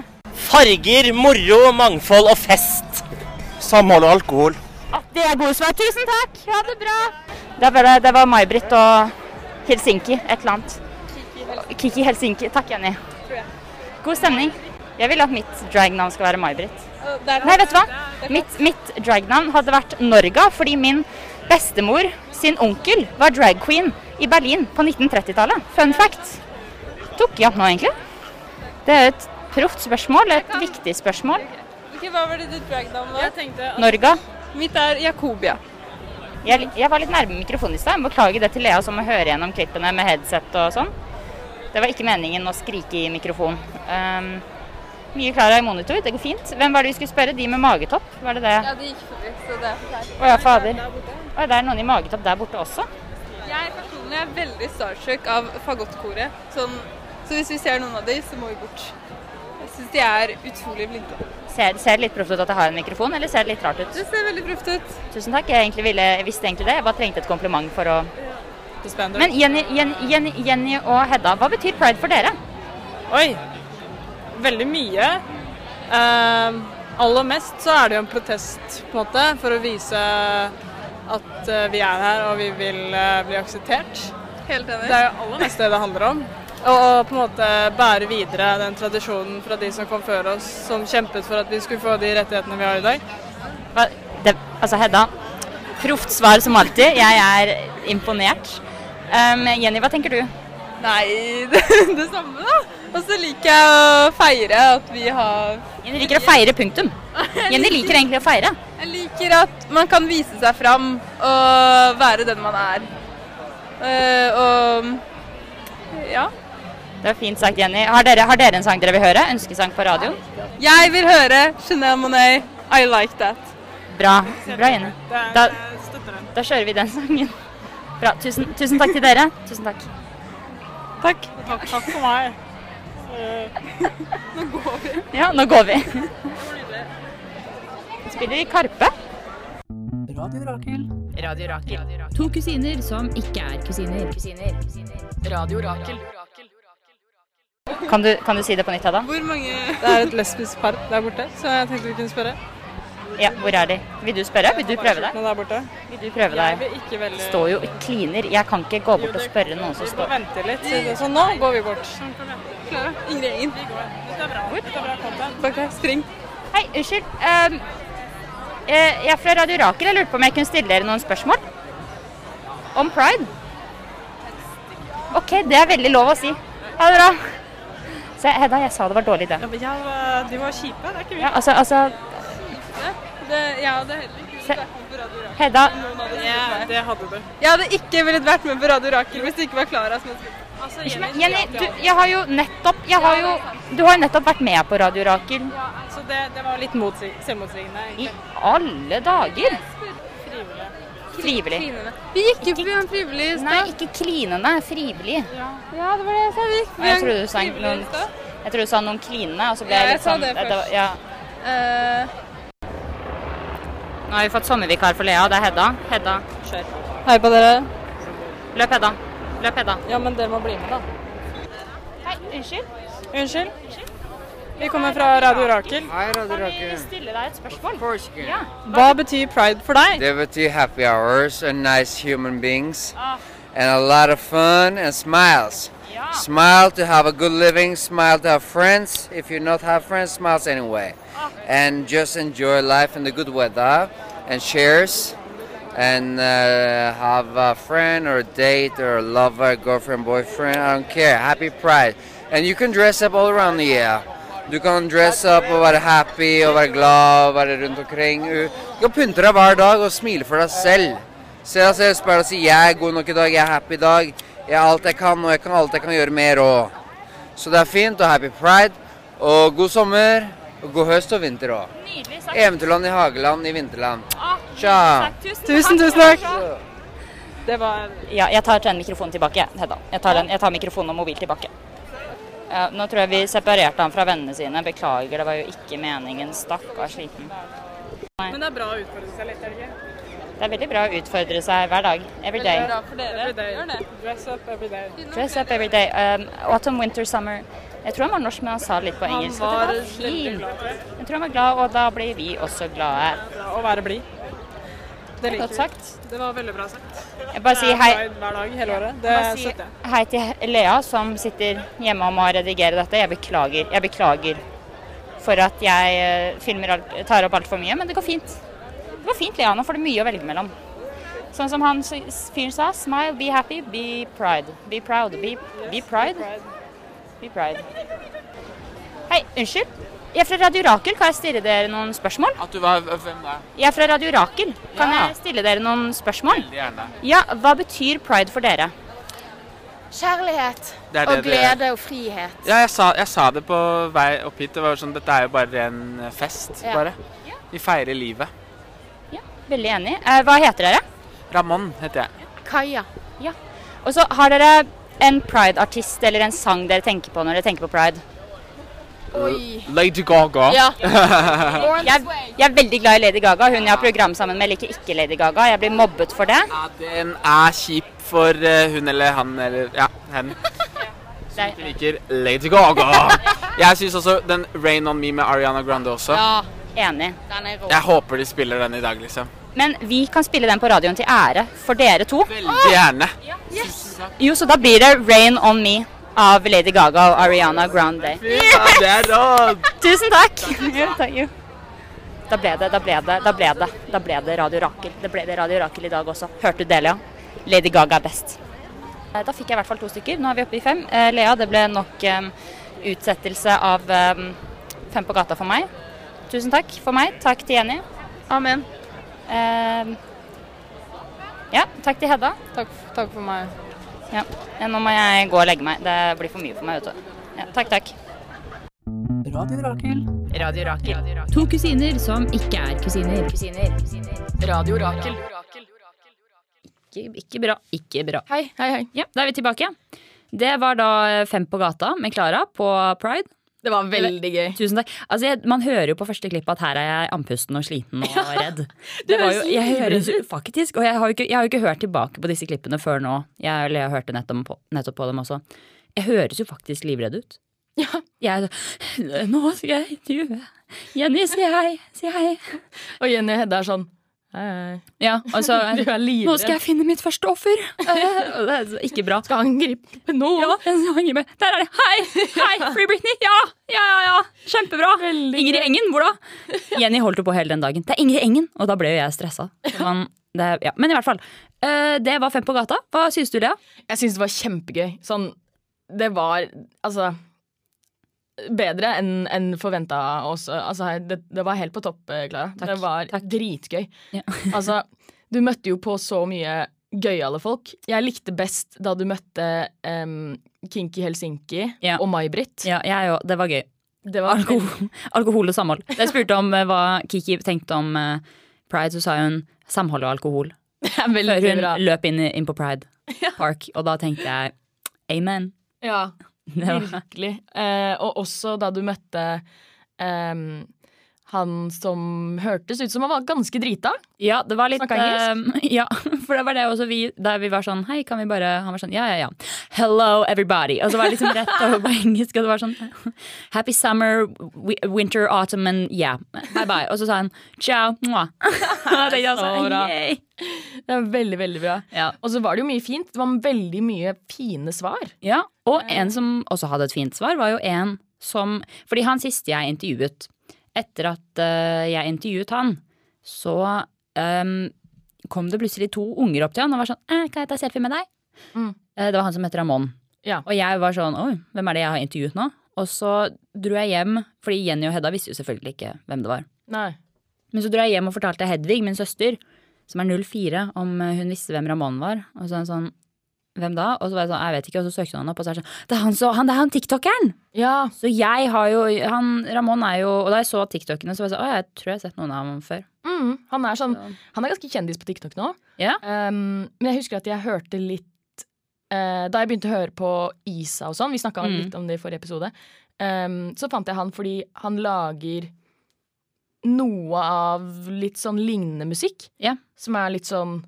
S10: Farger, moro, mangfold og fest. Samhold og alkohol.
S3: At det er gode svar. Tusen takk! Ha det bra. Det var, det var May-Britt og Helsinki, et eller annet. Kiki Helsinki. Takk, Jenny. God stemning. Jeg vil at mitt dragnavn skal være May-Britt. Nei, vet du hva? Mitt, mitt dragnavn hadde vært Norga, fordi min bestemor sin onkel var drag queen i Berlin på 1930-tallet. Fun fact. Tok jeg opp nå, egentlig? Det er et proft spørsmål, et viktig spørsmål.
S9: Ok, Hva var det ditt dragnavn var? Jeg tenkte at
S3: Norga.
S9: Mitt er Jakobia.
S3: Jeg, jeg var litt nærme mikrofonen i stad. Jeg må Beklager det til Lea som må høre gjennom klippene med headset og sånn. Det var ikke meningen å skrike i mikrofon. Ehm, mye Klara i monitor, det går fint. Hvem var det vi skulle spørre? De med magetopp, var det det?
S9: Ja, det gikk forbi, så det er forferdelig.
S3: Å ja, fader. Å, det er noen i magetopp der borte også?
S9: Jeg personlig er veldig starstruck av fagottkoret. Sånn, så hvis vi ser noen av de, så må vi bort. Jeg syns de er utrolig flinke.
S3: Ser, ser det litt proft ut at jeg har en mikrofon, eller ser det litt rart ut?
S9: Det ser veldig proft ut.
S3: Tusen takk, jeg, egentlig ville, jeg visste egentlig det. Jeg bare trengte et kompliment for å Men
S9: Men
S3: Jenny, Jenny, Jenny, Jenny og Hedda, hva betyr pride for dere?
S9: Oi. Veldig mye. Um, aller mest så er det jo en protest, på en måte, for å vise at eh, vi er her og vi vil eh, bli akseptert.
S11: Helt enig.
S9: Det er jo aller mest det det handler om. Og å på en måte bære videre den tradisjonen fra de som kom før oss, som kjempet for at vi skulle få de rettighetene vi har i dag.
S3: Hva, det, altså, Hedda. Proft svar som alltid. Jeg er imponert. Um, Jenny, hva tenker du?
S9: Nei, det, det samme, da. Og så liker jeg å feire at vi har
S3: Jenny liker å feire, punktum. Jenny liker egentlig å feire.
S9: Jeg liker at man kan vise seg fram og være den man er. Eh, og ja.
S3: Det var fint sagt, Jenny. Har dere, har dere en sang dere vil høre? Ønskesang på radioen?
S9: Jeg vil høre Chanel Monet, I like that.
S3: Bra. Bra, Jenny. Da, da kjører vi den sangen. Bra. Tusen, tusen takk til dere. Tusen takk.
S9: Takk. Takk, for meg. Nå går vi.
S3: Ja, nå går vi. Spiller vi Karpe?
S5: Radio Rakel.
S3: Radio Rakel.
S12: To kusiner som ikke er kusiner.
S2: Radio Rakel.
S3: Kan du, kan du si det på nytt, Hedda?
S9: Hvor mange Det er et lesbisk par der borte, så jeg tenkte vi kunne spørre.
S3: Ja, hvor er de? Vil du spørre? Vil du prøve deg?
S9: Noen der borte.
S3: Vil du prøve deg?
S9: Jeg vil ikke veldig
S3: Står jo og kliner. Jeg kan ikke gå bort og spørre noen som
S9: Vi må
S3: står
S9: vente litt, så nå går Sånn vi bort. Klara, Ingrid Engen. Dette er bra. Dette er bra content. Bak deg, spring.
S3: Hei, unnskyld. ehm, eh, jeg er fra Radio Rakel. Jeg lurte på om jeg kunne stille dere noen spørsmål om pride. OK, det er veldig lov å si. Ha det bra. Se, Hedda, jeg sa det var dårlig, det.
S9: Ja, de var kjipe, det er ikke vi.
S3: Ja, altså, altså
S9: Det, ja, det er heller ikke hvis det er på Radio Rakel.
S3: Hedda,
S9: Noen hadde spurt meg.
S11: Jeg hadde ikke villet vært med på Radio Rakel hvis det ikke var Klara som hadde spilt.
S9: Altså,
S3: Ikke meg. Jenny, du, jeg har jo nettopp jeg har jo, Du har jo nettopp vært med på Radio Rakel.
S9: Ja, altså det, det var litt motsig, selvmotsigende.
S3: I
S9: egentlig.
S3: alle dager!
S9: Frivillig.
S3: Frivillig.
S11: Vi gikk jo forbi en frivillig i
S3: Nei,
S11: stad.
S3: ikke klinende. Frivillig.
S11: Ja, det var det jeg sa. Vi gikk forbi
S3: Jeg
S11: en
S3: trodde du sa
S11: frivillig i
S3: noen,
S11: stad.
S3: jeg trodde du sa noen klinende, og så ble
S11: Ja,
S3: jeg
S11: jeg
S3: litt
S11: sa
S3: sånn
S11: det
S3: det- det
S11: først.
S3: var- ja.
S11: Eh,
S3: Nå har vi fått sommervikar for Lea, og det er Hedda. Hedda, kjør.
S9: Hei på dere.
S3: Løp, Hedda. Løp, Hedda.
S9: Ja, men dere må bli med, da.
S3: Hei, unnskyld.
S9: Unnskyld. Vi kommer fra Radio Rakel.
S13: Hei, Radio
S3: Kan vi
S13: Rakel.
S3: stille deg et spørsmål? Ja.
S9: Hva betyr pride for deg?
S13: Det betyr happy hours and nice human beings. And a lot of fun and smiles.
S3: Ja.
S13: Smile to have a good living, smile to have friends. If you not have friends, smiles anyway. And just enjoy life in the good weather and shares. And uh, have a friend or a date or a lover, girlfriend, boyfriend, I don't care. Happy pride. And you can dress up all around the year. Du kan dress up og være happy og være glad og være rundt omkring. Du kan pynte deg hver dag og smile for deg selv. Se deg selv i speilet og si 'jeg er god nok i dag, jeg er happy i dag'. Jeg er alt jeg kan, og jeg kan alt jeg kan gjøre mer òg. Så det er fint, og happy pride. Og god sommer, og god høst og vinter òg.
S3: Nydelig sagt.
S13: Eventyrland i Hageland i vinterland.
S3: Ah,
S13: Tja.
S3: sagt. Tusen,
S9: Tusen, tusen takk. Det var
S3: Ja, jeg tar den mikrofonen tilbake, jeg, Hedda. Jeg tar, den, jeg tar mikrofonen og mobil tilbake. Ja, nå tror jeg vi separerte han fra vennene sine. Beklager, det var jo ikke meningen. Stakkars liten.
S9: Men det er bra å utfordre seg litt, er det ikke?
S3: Det er veldig bra å utfordre seg hver dag. Every day.
S11: bra for dere.
S9: Every day.
S11: Gjør det.
S9: Dress up every day.
S3: Dress up every day. Um, autumn, winter, summer. Jeg tror han var norsk, men han sa litt på engelsk. og Det
S9: var
S3: var
S9: veldig
S3: fint.
S9: glad for det.
S3: Jeg tror han var glad, og da blir vi også glade.
S9: Å være blid. Det liker
S3: Godt
S9: vi.
S3: sagt.
S9: Det var veldig bra sagt.
S3: Jeg bare
S9: Det
S3: sier
S9: er
S3: hei.
S9: pride hver dag hele året. Det
S3: Bare si
S9: støtter jeg.
S3: hei til Lea som sitter hjemme og må redigere dette. Jeg beklager. Jeg beklager
S14: for at jeg eh, filmer alt, tar opp altfor mye, men det går fint. Det går fint, Lea. Nå får du mye å velge mellom. Sånn som han sy- fyren sa, smile, be happy, be pride. Be proud. Be, be pride. Be pride. Hei, unnskyld. Jeg er fra Radio Rakel. Kan jeg stille dere noen spørsmål?
S15: At du var hvem da?
S14: Jeg er fra Radio Rakel. Kan
S15: Ja.
S14: jeg stille dere noen spørsmål?
S15: Veldig gjerne.
S14: Ja, hva betyr pride for dere?
S16: Kjærlighet
S15: Det er det
S16: og
S15: det er.
S16: glede og frihet.
S15: Ja, jeg sa, jeg sa det på vei opp hit. Det var jo sånn, Dette er jo bare en fest,
S14: Ja.
S15: bare. Vi feirer livet.
S14: Veldig enig. Eh, hva heter dere?
S15: Ramón heter jeg.
S14: Kaja. Ja. Og så har dere en pride-artist eller en sang dere tenker på når dere tenker på pride?
S15: Oi. Lady Gaga.
S14: Ja. Jeg, jeg er veldig glad i Lady Gaga. Hun jeg har program sammen med liker ikke Lady Gaga. Jeg blir mobbet for det.
S15: Den er kjip for eh, hun eller han eller ja, hen. Som ikke liker Lady Gaga. Jeg syns også den 'Rain On Me' med Ariana Grande også.
S14: Enig.
S15: Jeg håper de spiller den i dag, liksom.
S14: Men vi kan spille den på radioen til ære for dere to.
S15: Veldig gjerne.
S14: Jo, så da blir det 'Rain On Me' av Lady Gaga og Ariana Grande.
S15: Ja, det er råd.
S14: Tusen takk. Jo, takk jo. Da ble det, da ble det, da ble det. Da ble det Radio Rakel. Det ble det Radio Rakel i dag også. Hørte du det, Lea? Lady Gaga er best. Eh, Da fikk jeg i hvert fall to stykker. Nå er vi oppe i fem. Eh, Lea, det ble nok eh, utsettelse av eh, Fem på gata for meg. Tusen takk for meg. Takk til Jenny. Amen. ja, takk til Hedda. Takk, for meg. Ja. eh, Nå må jeg gå og legge meg. Det blir for mye for meg, vet du. Ja, takk, takk.
S5: Radio Rakel.
S3: Radio Rakel.
S4: To kusiner som ikke er kusiner.
S2: Radio Rakel.
S3: Ikke, ikke bra. Ikke bra.
S2: Hei. Hei, hei.
S3: Ja, da er vi tilbake. Det var da eh, Fem på gata med Klara på Pride.
S2: Det var veldig gøy.
S3: Tusen takk. Altså, jeg, man hører jo på første klipp at her er jeg andpusten og sliten og redd. Det var
S2: høres
S3: jo,
S2: så
S3: jeg
S2: livredd
S3: høres jo faktisk, og jeg har, jo ikke, jeg har jo ikke hørt tilbake på disse klippene før nå. Jeg, eller jeg hørte nettopp på, nettopp på dem også. Jeg høres jo faktisk livredd ut. Jeg, nå skal jeg intervjue. Jenny, si hei. Si hei.
S2: Og Jenny og Hedda er sånn hei, hei.
S3: Ja, altså,
S2: Du er livredd.
S3: Nå skal jeg finne mitt første offer. Eh, og det er så- ikke bra. Skal angripe noen. Ja, jeg skal angripe. Der er det. Hei! Hei! Free Britney! Ja! Ja, ja, ja! Kjempebra! Ingrid Engen, hvor da? Jenny holdt jo på hele den dagen. Det er Ingrid Engen! Og da ble jo jeg stressa. Så Man, det, ja. Men i hvert fall. eh, det var Fem på gata. Hva syns du, Lea?
S2: Jeg syns det var kjempegøy. Sånn, det var altså Bedre enn enn forventa også. Altså, det, det var helt på topp, eh, Klara. Det var dritgøy. altså, du møtte jo på så mye gøyale folk. Jeg likte best da du møtte em, Kinky Helsinki og May-Britt.
S3: Ja, jeg òg. Det var gøy.
S2: Det var
S3: Alkohol, alkohol og samhold. Jeg spurte om eh, hva Kiki tenkte om eh, pride, så sa hun samhold og alkohol.
S2: veldig
S3: Før hun
S2: bra.
S3: løp inn, inn på Pride Park, og da tenkte jeg amen.
S2: Ja,
S3: Det var-
S2: virkelig. Eh, og også da du møtte em, han som hørtes ut som han var ganske drita.
S3: Ja, det var litt
S2: Snakka engelsk.
S3: eh, ja, for det var det også vi Der vi var sånn Hei, kan vi bare Han var sånn Ja, ja, ja. Hello, everybody. Og så var det liksom rett over på engelsk, og det var sånn Happy summer, wi- winter, autumn and yeah. Bye bye. Og så sa han ciao. Mwah. Og det gjør
S2: Så
S3: sånn,
S2: bra.
S3: yay.
S2: Det er veldig, veldig bra. Og så var det jo mye fint. Det var veldig mye fine svar.
S3: Ja, og en som også hadde et fint svar, var jo en som Fordi han siste jeg intervjuet, etter at eh, jeg intervjuet han, så ehm, kom det plutselig to unger opp til han og var sånn «Eh, 'Kan jeg ta selfie med deg?' Eh, det var han som het Ramón.
S2: Ja.
S3: Og jeg var sånn 'Oi, hvem er det jeg har intervjuet nå?' Og så dro jeg hjem, fordi Jenny og Hedda visste jo selvfølgelig ikke hvem det var.
S2: Nei.
S3: Men så dro jeg hjem og fortalte Hedvig, min søster, som er 04, om eh, hun visste hvem Ramón var. Og så er hun sånn Hvem da? Og så var jeg sånn, jeg vet ikke, og så søkte hun han opp, og så er det sånn Det er han, så, han, det er han tiktokeren! Så jeg har jo han, Ramón er jo Og da jeg så tiktokene, så var jeg sånn Å, jeg tror jeg har sett noen av ham før.
S2: Mm, han, er sånn, han er ganske kjendis på TikTok nå. Um, men jeg husker at jeg hørte litt eh, Da jeg begynte å høre på Isa og sånn, vi snakka
S3: Mm.
S2: litt om det i forrige episode, um, så fant jeg han fordi han lager noe av litt sånn lignende musikk. Som er litt sånn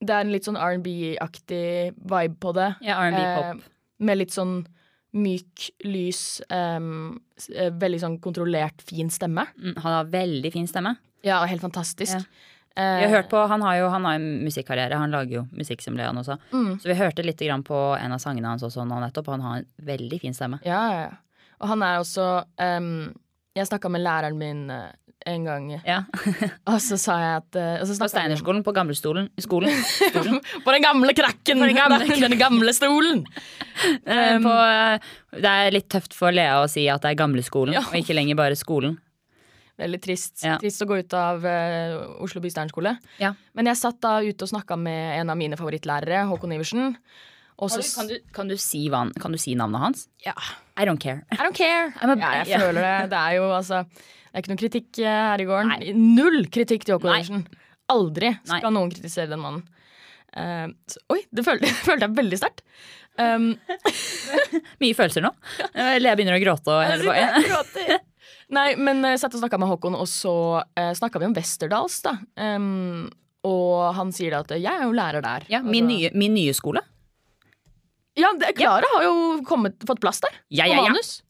S2: Det er en litt sånn R&B-aktig vibe på det.
S3: Ja, R&B-pop.
S2: Eh, med litt sånn myk, lys, em, s- eh, veldig sånn kontrollert, fin stemme.
S3: Mm, Han har veldig fin stemme.
S2: Ja, helt fantastisk. Eh,
S3: Vi har hørt på, Han har jo han har en musikkarriere, han lager jo musikk som Leon også.
S2: Mm.
S3: Så vi hørte litt grann på en av sangene hans også nå nettopp, og han har en veldig fin stemme.
S2: Ja, ja, ja. Og han er også em, Jeg snakka med læreren min eh, en gang, og så sa jeg at eh, og så
S3: På Steinerskolen, på gamlestolen, i skolen.
S2: På den gamle krakken!
S3: På den gamle
S2: Den- den gamle stolen!
S3: Eh, på, eh, det er litt tøft for Lea å si at det er gamleskolen,
S2: Ja.
S3: og ikke lenger bare skolen.
S2: Veldig trist. Trist å gå ut av eh, Oslo by Steinerskole.
S3: Ja.
S2: Men jeg satt da ute og snakka med en av mine favorittlærere, Håkon Iversen. Og så
S3: Har du- kan, du, kan, du si hva, han- kan du si navnet hans?
S2: Ja.
S3: I don't care.
S2: I don't care. ja, jeg
S3: ja.
S2: føler det. Det er jo altså Det er ikke noe kritikk eh, her i gården. Null kritikk til Håkon Iversen. Aldri skal noen kritisere den mannen. Eh, så, oi, det følte, følte jeg veldig sterkt. Um,
S3: Mye følelser nå. Eh, Lea begynner å gråte. Og hele bare,
S2: Nei, men jeg satt og snakka med Håkon, og så uh, snakka vi om Westerdals, da. Um, og han sier da at eh, jeg er jo lærer der.
S3: ja, min, nye, min nye skole.
S2: Ja, det- Klara har jo kommet, fått plass der.
S3: Ja, ja,
S2: på
S3: ja.
S2: manus.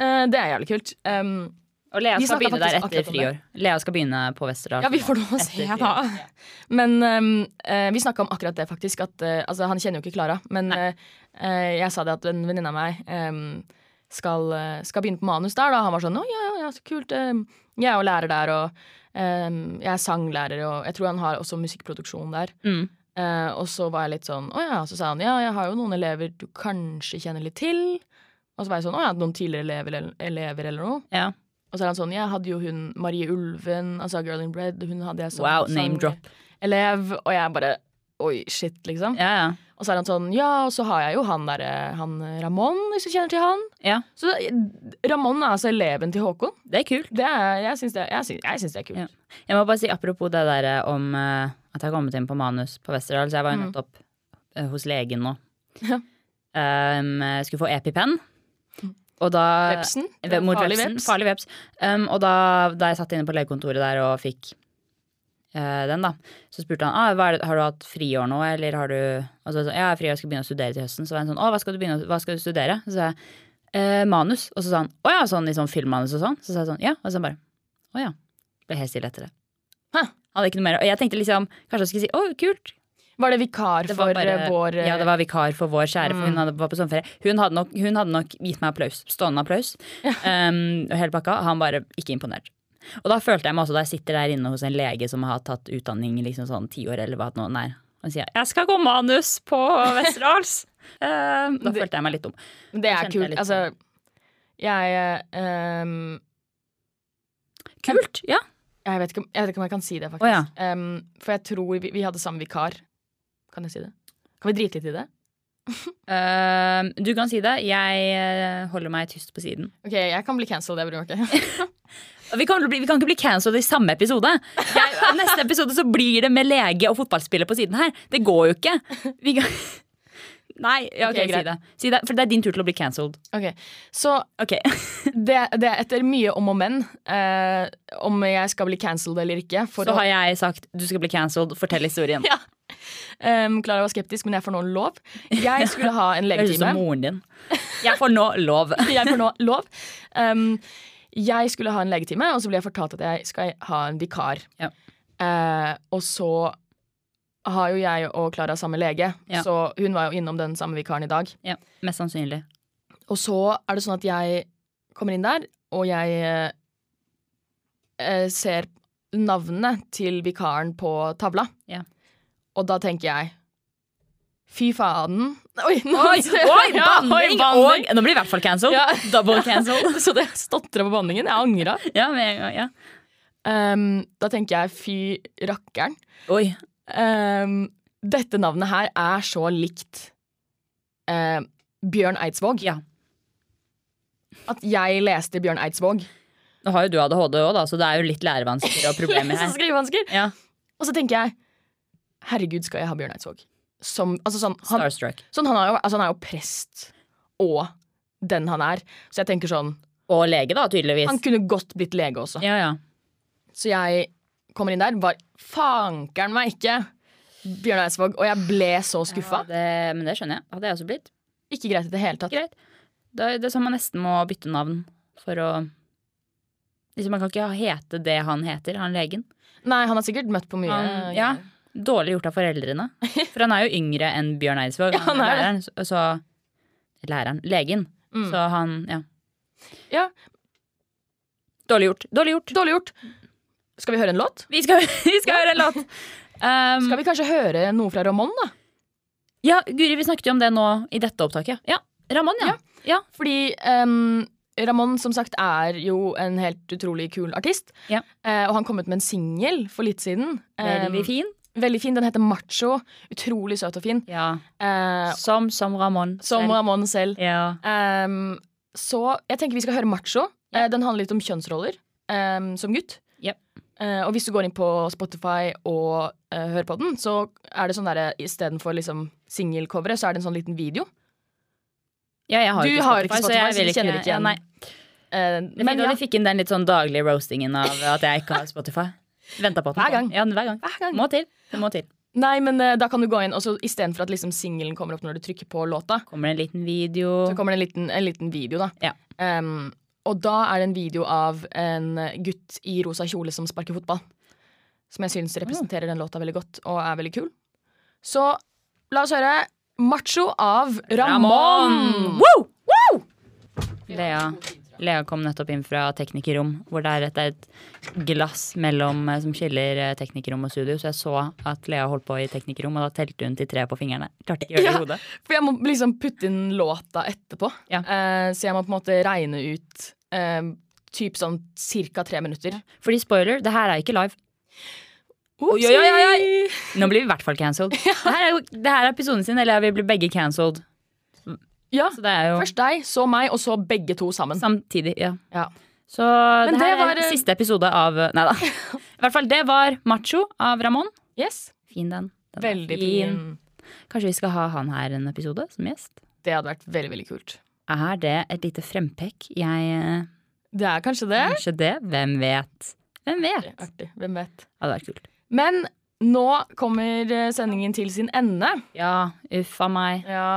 S2: Eh, det er jævlig kult. Um,
S3: og Lea
S2: vi
S3: skal
S2: snakket
S3: begynne der
S2: faktisk
S3: etter
S2: akkurat om det.
S3: friår. Lea skal begynne på Westerdal.
S2: Ja, vi får lov å se, da. Men ehm, eh, vi snakka om akkurat det, faktisk. At, eh, altså, han kjenner jo ikke Klara, men eh, eh, jeg sa det at en venninne av meg ehm, skal, eh, skal begynne på manus der. Da. Han var sånn 'Å ja, ja, ja, så kult. ehm, jeg er jo lærer der, og ehm, jeg er sanglærer, og jeg tror han har også musikkproduksjon der.
S3: Mm.
S2: Eh, og så var jeg litt sånn 'Å ja', så sa han 'Ja, jeg har jo noen elever du kanskje kjenner litt til'. Og så var jeg sånn 'Å ja, noen tidligere elever, eller- elever eller noe'. Og så er han sånn 'Jeg hadde jo hun Marie Ulven, altså Girl in Bread, hun hadde jeg som sånn
S3: Wow, name drop.
S2: elev', og jeg bare Oi, shit, liksom. Og så er han sånn 'Ja, og så har jeg jo han derre Han eh, Ramón, hvis du kjenner til han'. Så eh, Ramón er altså eleven til Håkon.
S3: Det er kult.
S2: Det er, jeg syns det, jeg syns- jeg syns det er kult.
S3: Jeg må bare si apropos det der eh, om eh, at jeg har kommet inn på manus på Westerdal, så jeg var jo
S2: Mm.
S3: nettopp eh, hos legen nå.
S2: Ja. Mm.
S3: Um, jeg skulle få epipenn. Og da,
S2: Vepsen?
S3: Ve- Mot
S2: Farlig
S3: farlig vepsen.
S2: veps.
S3: Farlig veps. Um, og da, da jeg satt inne på legekontoret der og fikk eh, den, da, så spurte han ah, hva er det, har du hatt friår nå, eller har du Og så sa jeg, sånn, ja, jeg er fri, jeg skal begynne å studere til høsten. Så var han sånn, å, hva skal du, begynne, å- hva skal du studere? Så sa jeg «Eh, manus. Og så sa han å ja, sånn i sånn filmmanus og sånn. Så sa jeg sånn ja. Og så han bare å ja. Ble helt stille etter det. Han Hadde ikke noe mer. Og jeg tenkte liksom, kanskje jeg skulle si å, kult.
S2: Var det vikar
S3: Det var
S2: for
S3: bare-
S2: eh, vår eh,
S3: Ja, det var vikar for vår kjære, for
S2: Mm.
S3: hun hadde, var på sommerferie. Hun hadde, nok, hun hadde nok gitt meg applaus. Stående applaus. Um, og hele pakka. Han bare ikke imponert. Og da følte jeg meg også, da jeg sitter der inne hos en lege som har tatt utdanning liksom sånn ti år eller hva det nå er, han sier 'jeg skal gå manus på Westerdals'. um, da følte jeg meg litt dum.
S2: Men Det
S3: Da
S2: er
S3: kjente jeg
S2: kult.
S3: litt sånn.
S2: Altså, jeg ehm,
S3: Kult, ja.
S2: Jeg vet, ikke, om- jeg vet ikke om jeg kan si det, faktisk.
S3: Å,
S2: Ehm, for jeg tror vi, vi hadde samme vikar. Kan jeg si det? Kan vi drite litt i det?
S3: Um, du kan si det. Jeg eh, holder meg tyst på siden.
S2: Ok, Jeg kan bli cancelled, jeg bryr meg ikke.
S3: Vi kan, bli, vi kan ikke bli cancelled i samme episode. Jeg, neste episode så blir det med lege og fotballspiller på siden her. Det går jo ikke. Vi kan, nei, ja,
S2: Ok,
S3: ok, si,
S2: greit.
S3: det. si det. For det er din tur til å bli cancelled.
S2: Ok, Så
S3: Ok.
S2: det, det er etter mye om og men, eh, om jeg skal bli cancelled eller ikke for
S3: Så
S2: å-
S3: har jeg sagt du skal bli cancelled, fortell historien.
S2: Ja. Ehm, Klara var skeptisk, men jeg får nå lov. Jeg skulle ha en
S3: Høres ut som
S2: legetime.
S3: moren din. Jeg får nå lov.
S2: jeg får nå lov. Ehm, jeg skulle ha en legetime, og så ble jeg fortalt at jeg skal ha en vikar. Eh, og så har jo jeg og Klara samme lege,
S3: Ja.
S2: så hun var jo innom den samme vikaren i dag.
S3: Ja, mest sannsynlig.
S2: Og så er det sånn at jeg kommer inn der, og jeg eh, eh, ser navnene til vikaren på tavla.
S3: Ja.
S2: Og da tenker jeg Fy faen. Oi,
S3: Oi, oi,
S2: Ja,
S3: banning
S2: banning.
S3: og Nå blir jeg i hvert fall cancelled.
S2: Ja.
S3: Double cancelled.
S2: så det stotrer på banningen. Jeg angra.
S3: Ja, men, ja, ja.
S2: Ehm, da tenker jeg fy rakkeren.
S3: Oi.
S2: Ehm, dette navnet her er så likt eh, Bjørn Eidsvåg. At jeg leste Bjørn Eidsvåg.
S3: Nå har jo du ADHD òg, så det er jo litt lærevansker og problemer
S2: Lese- og
S3: her.
S2: skrivevansker.
S3: Ja.
S2: Og så tenker jeg Herregud, skal jeg ha Bjørn Eidsvåg? Som, altså sånn, han,
S3: Starstruck.
S2: sånn, han, er jo, altså han er jo prest og den han er. Så jeg tenker sånn
S3: Og lege, da, tydeligvis.
S2: Han kunne godt blitt lege også.
S3: Ja, ja.
S2: Så jeg kommer inn der, var fankeren meg ikke Bjørn Eidsvåg, og jeg ble så skuffa.
S3: det, men det skjønner jeg. Hadde jeg også blitt.
S2: Ikke greit i det hele tatt.
S3: Greit. Det, det er sånn man nesten må bytte navn for å liksom Man kan ikke hete det han heter, han legen.
S2: Nei, han har sikkert møtt på mye.
S3: Han, ja, Dårlig gjort av foreldrene. For han er jo yngre enn Bjørn Eidsvåg.
S2: Ja, han er det.
S3: læreren, så- så Læreren. Legen.
S2: Mm.
S3: Så han, ja.
S2: Ja.
S3: Dårlig gjort. Dårlig gjort.
S2: Dårlig gjort. Skal vi høre en låt?
S3: Vi skal, vi skal høre en låt. Um,
S2: skal vi kanskje høre noe fra Ramón, da?
S3: Ja, Guri, vi snakket jo om det nå i dette opptaket. Ja, Ramón, ja.
S2: Fordi um, Ramón, som sagt, er jo en helt utrolig kul artist. Eh, og han kom ut med en singel for litt siden.
S3: Veldig
S2: Em,
S3: fin.
S2: Veldig fin. Den heter Macho. Utrolig søt og fin. Eh,
S3: som som Ramón.
S2: Som
S3: selv.
S2: Ramón selv.
S3: Ja.
S2: Em, Ehm, så jeg tenker vi skal høre Macho. Eh, den handler litt om kjønnsroller em, som gutt. Eh, og hvis du går inn på Spotify og eh, hører på den, så er det sånn derre istedenfor liksom singelcoveret, så er det en sånn liten video.
S3: Ja, jeg har jo
S2: du
S3: ikke
S2: har
S3: Spotify,
S2: ikke
S3: så
S2: Spotify,
S3: jeg
S2: så,
S3: vil
S2: du kjenner
S3: ikke-
S2: ikke
S3: ja,
S2: igjen.
S3: nei.
S2: Eh,
S3: Det er
S2: men
S3: fint at
S2: ja.
S3: vi fikk inn den litt sånn daglige roastingen av at jeg ikke har Spotify. Venta på den.
S2: Hver gang.
S3: Ja, hver gang. Må til. Det må til.
S2: Nei, men eh, da kan du gå inn, og så istedenfor at liksom singelen kommer opp når du trykker på låta
S3: Kommer det en liten video.
S2: Så kommer det en liten, en liten video, da.
S3: Ja.
S2: Em, og da er det en video av en gutt i rosa kjole som sparker fotball. Som jeg syns representerer den låta veldig godt, og er veldig kul. Så la oss høre Macho av Ramón.
S3: Woo! Lea, Lea kom nettopp inn fra teknikerrom, hvor det er et, det er et glass mellom, eh, som skiller eh, teknikerrom og studio. Så jeg så at Lea holdt på i teknikerrom, og da telte hun til tre på fingrene. Klarte ikke å gjøre det i hodet.
S2: For jeg må liksom putte inn låta etterpå. Eh, så jeg må på en måte regne ut eh, typ sånn cirka tre minutter.
S3: Fordi spoiler, det her er ikke live.
S2: Oopsie!
S3: Oi, oi, oi, oi. Nå blir vi i hvert fall cancelled. Det her er jo det her er episoden sin, eller vi blir begge cancelled.
S2: Ja,
S3: Så det er jo
S2: Først deg, så meg, og så begge to sammen.
S3: samtidig. Ja.
S2: Ja.
S3: Så
S2: Men
S3: det her
S2: det var,
S3: er
S2: eh,
S3: siste episode av Nei da. I hvert fall, det var Macho av Ramón.
S2: Yes.
S3: Fin den. den er
S2: Veldig fin.
S3: Kanskje vi skal ha han her en episode som gjest?
S2: Det hadde vært veldig, veldig kult.
S3: Er det et lite frempekk? Jeg eh,
S2: Det er kanskje det.
S3: Kanskje det. Hvem vet? Hvem vet?
S2: Artig. Hvem vet.
S3: Hadde vært kult.
S2: Men nå kommer eh, sendingen til sin ende.
S3: Ja, uff a meg.
S2: Ja,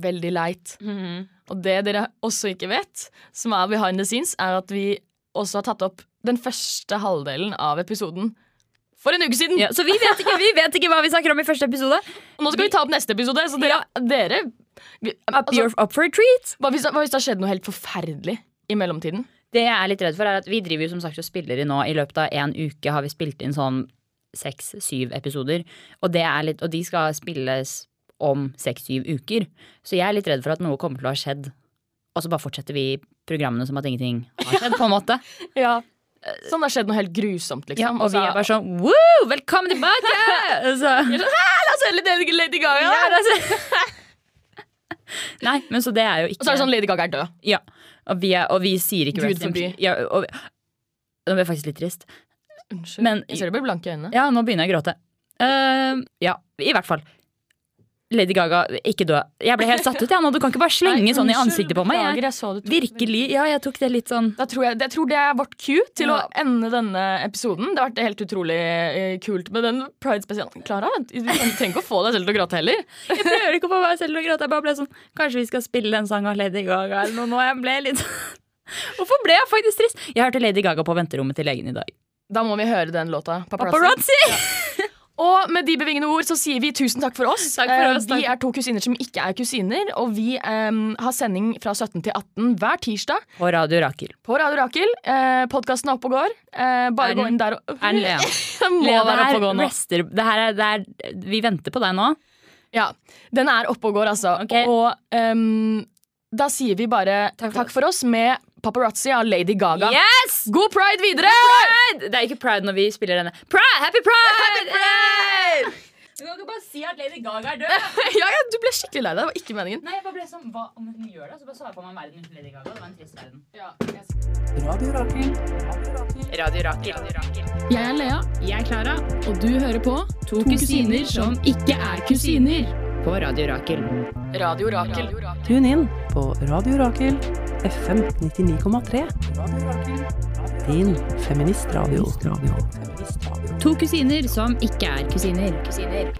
S2: veldig leit. Og det dere også ikke vet, som er behind the scenes, er at vi også har tatt opp den første halvdelen av episoden for en uke siden.
S3: Ja, så vi vet, ikke, vi vet ikke hva vi snakker om i første episode.
S2: Nå skal vi ta opp neste episode, så dere, dere
S3: Up,
S2: Altså-
S3: your- up for a treat!
S2: hva, hvis, hva hvis det har skjedd noe helt forferdelig i mellomtiden?
S3: Det jeg er litt redd for, er at vi driver jo som sagt og spiller inn nå. I løpet av en uke har vi spilt inn sånn seks-syv episoder. Og, det er litt, og de skal spilles om seks-syv uker. Så jeg er litt redd for at noe kommer til å ha skjedd. Og så bare fortsetter vi programmene som at ingenting har skjedd, på en måte.
S2: Ja. Sånn det har skjedd noe helt grusomt, liksom.
S3: Ja, og vi
S2: så-
S3: er bare sånn woo, velkommen tilbake! Så,
S2: Vi er sånn, «Hæ, La oss høre litt Lady Gaga!
S3: Ja, la oss nei, men så det er jo ikke
S2: Og så er det sånn Lady Gaga er død.
S3: Ja, og vi, er, og vi sier ikke
S2: Gud
S3: rest in
S2: forby.
S3: peace. Ja, og, nå ble jeg faktisk litt trist.
S2: Unnskyld.
S3: Men-
S2: jeg ser det blir blanke i øynene.
S3: Ja, nå begynner jeg å gråte. Eh, ja, i hvert fall. Lady Gaga, ikke dø. Jeg ble helt satt ut, jeg nå. Du kan ikke bare slenge
S2: Nei,
S3: sånn i
S2: unnskyld,
S3: ansiktet på meg.
S2: beklager, jeg så det tok
S3: virkelig, ja, jeg tok det litt sånn
S2: Da tror jeg, jeg tror det er vårt cue til å ende denne episoden. Det har vært helt utrolig eh, kult med den pride-spesialen. Klara, du trenger ikke å få deg selv til å gråte heller.
S3: Jeg prøver ikke å få meg selv til å gråte. Jeg bare ble sånn Kanskje vi skal spille en sang av Lady Gaga eller noe nå? Jeg ble litt sånn, Hvorfor ble jeg faktisk trist? Jeg hørte Lady Gaga på venterommet til legen i dag.
S2: Da må vi høre den låta. Paparazzi.
S3: Paparazzi!
S2: Og med de bevingende ord så sier vi tusen takk for oss.
S3: Takk for
S2: Eh,
S3: oss,
S2: Vi
S3: takk.
S2: er to kusiner som ikke er kusiner, og vi em, har sending fra 17 til 18 hver tirsdag
S3: Og Radio Rakel.
S2: på Radio Rakel. Eh, Podkasten er oppe og går. Eh, bare
S3: Er den-
S2: gå inn der og
S3: Er den Lea?
S2: Den må
S3: Lea, det
S2: være
S3: her
S2: oppe og gå nå.
S3: rester det her er, det er, Vi venter på deg nå.
S2: Ja, den er oppe og går, altså. Og ehm, da sier vi bare takk for, oss med paparazzi av Lady Gaga.
S3: Yes!
S2: God pride videre!
S3: Pride! Det er ikke pride når vi spiller denne. Pride! Happy pride!
S1: Du kan ikke bare si at Lady Gaga er død!
S2: ja, ja, du ble skikkelig lei deg. Det var ikke meningen.
S1: Nei, jeg bare ble sånn, hva om hun gjør det? Så bare svarer på meg om verden uten Lady Gaga. Det var en trist verden.
S5: Radio Rakel.
S3: Radio Rakel. Radio Rakel.
S4: Jeg er Lea. Jeg er Klara. Og du hører på To kusiner som ikke er kusiner.
S3: På Radio Rakel.
S2: Radio Rakel.
S5: Tune inn på Radio Rakel FM 99,3. Din feministradio.
S4: To kusiner som ikke er kusiner.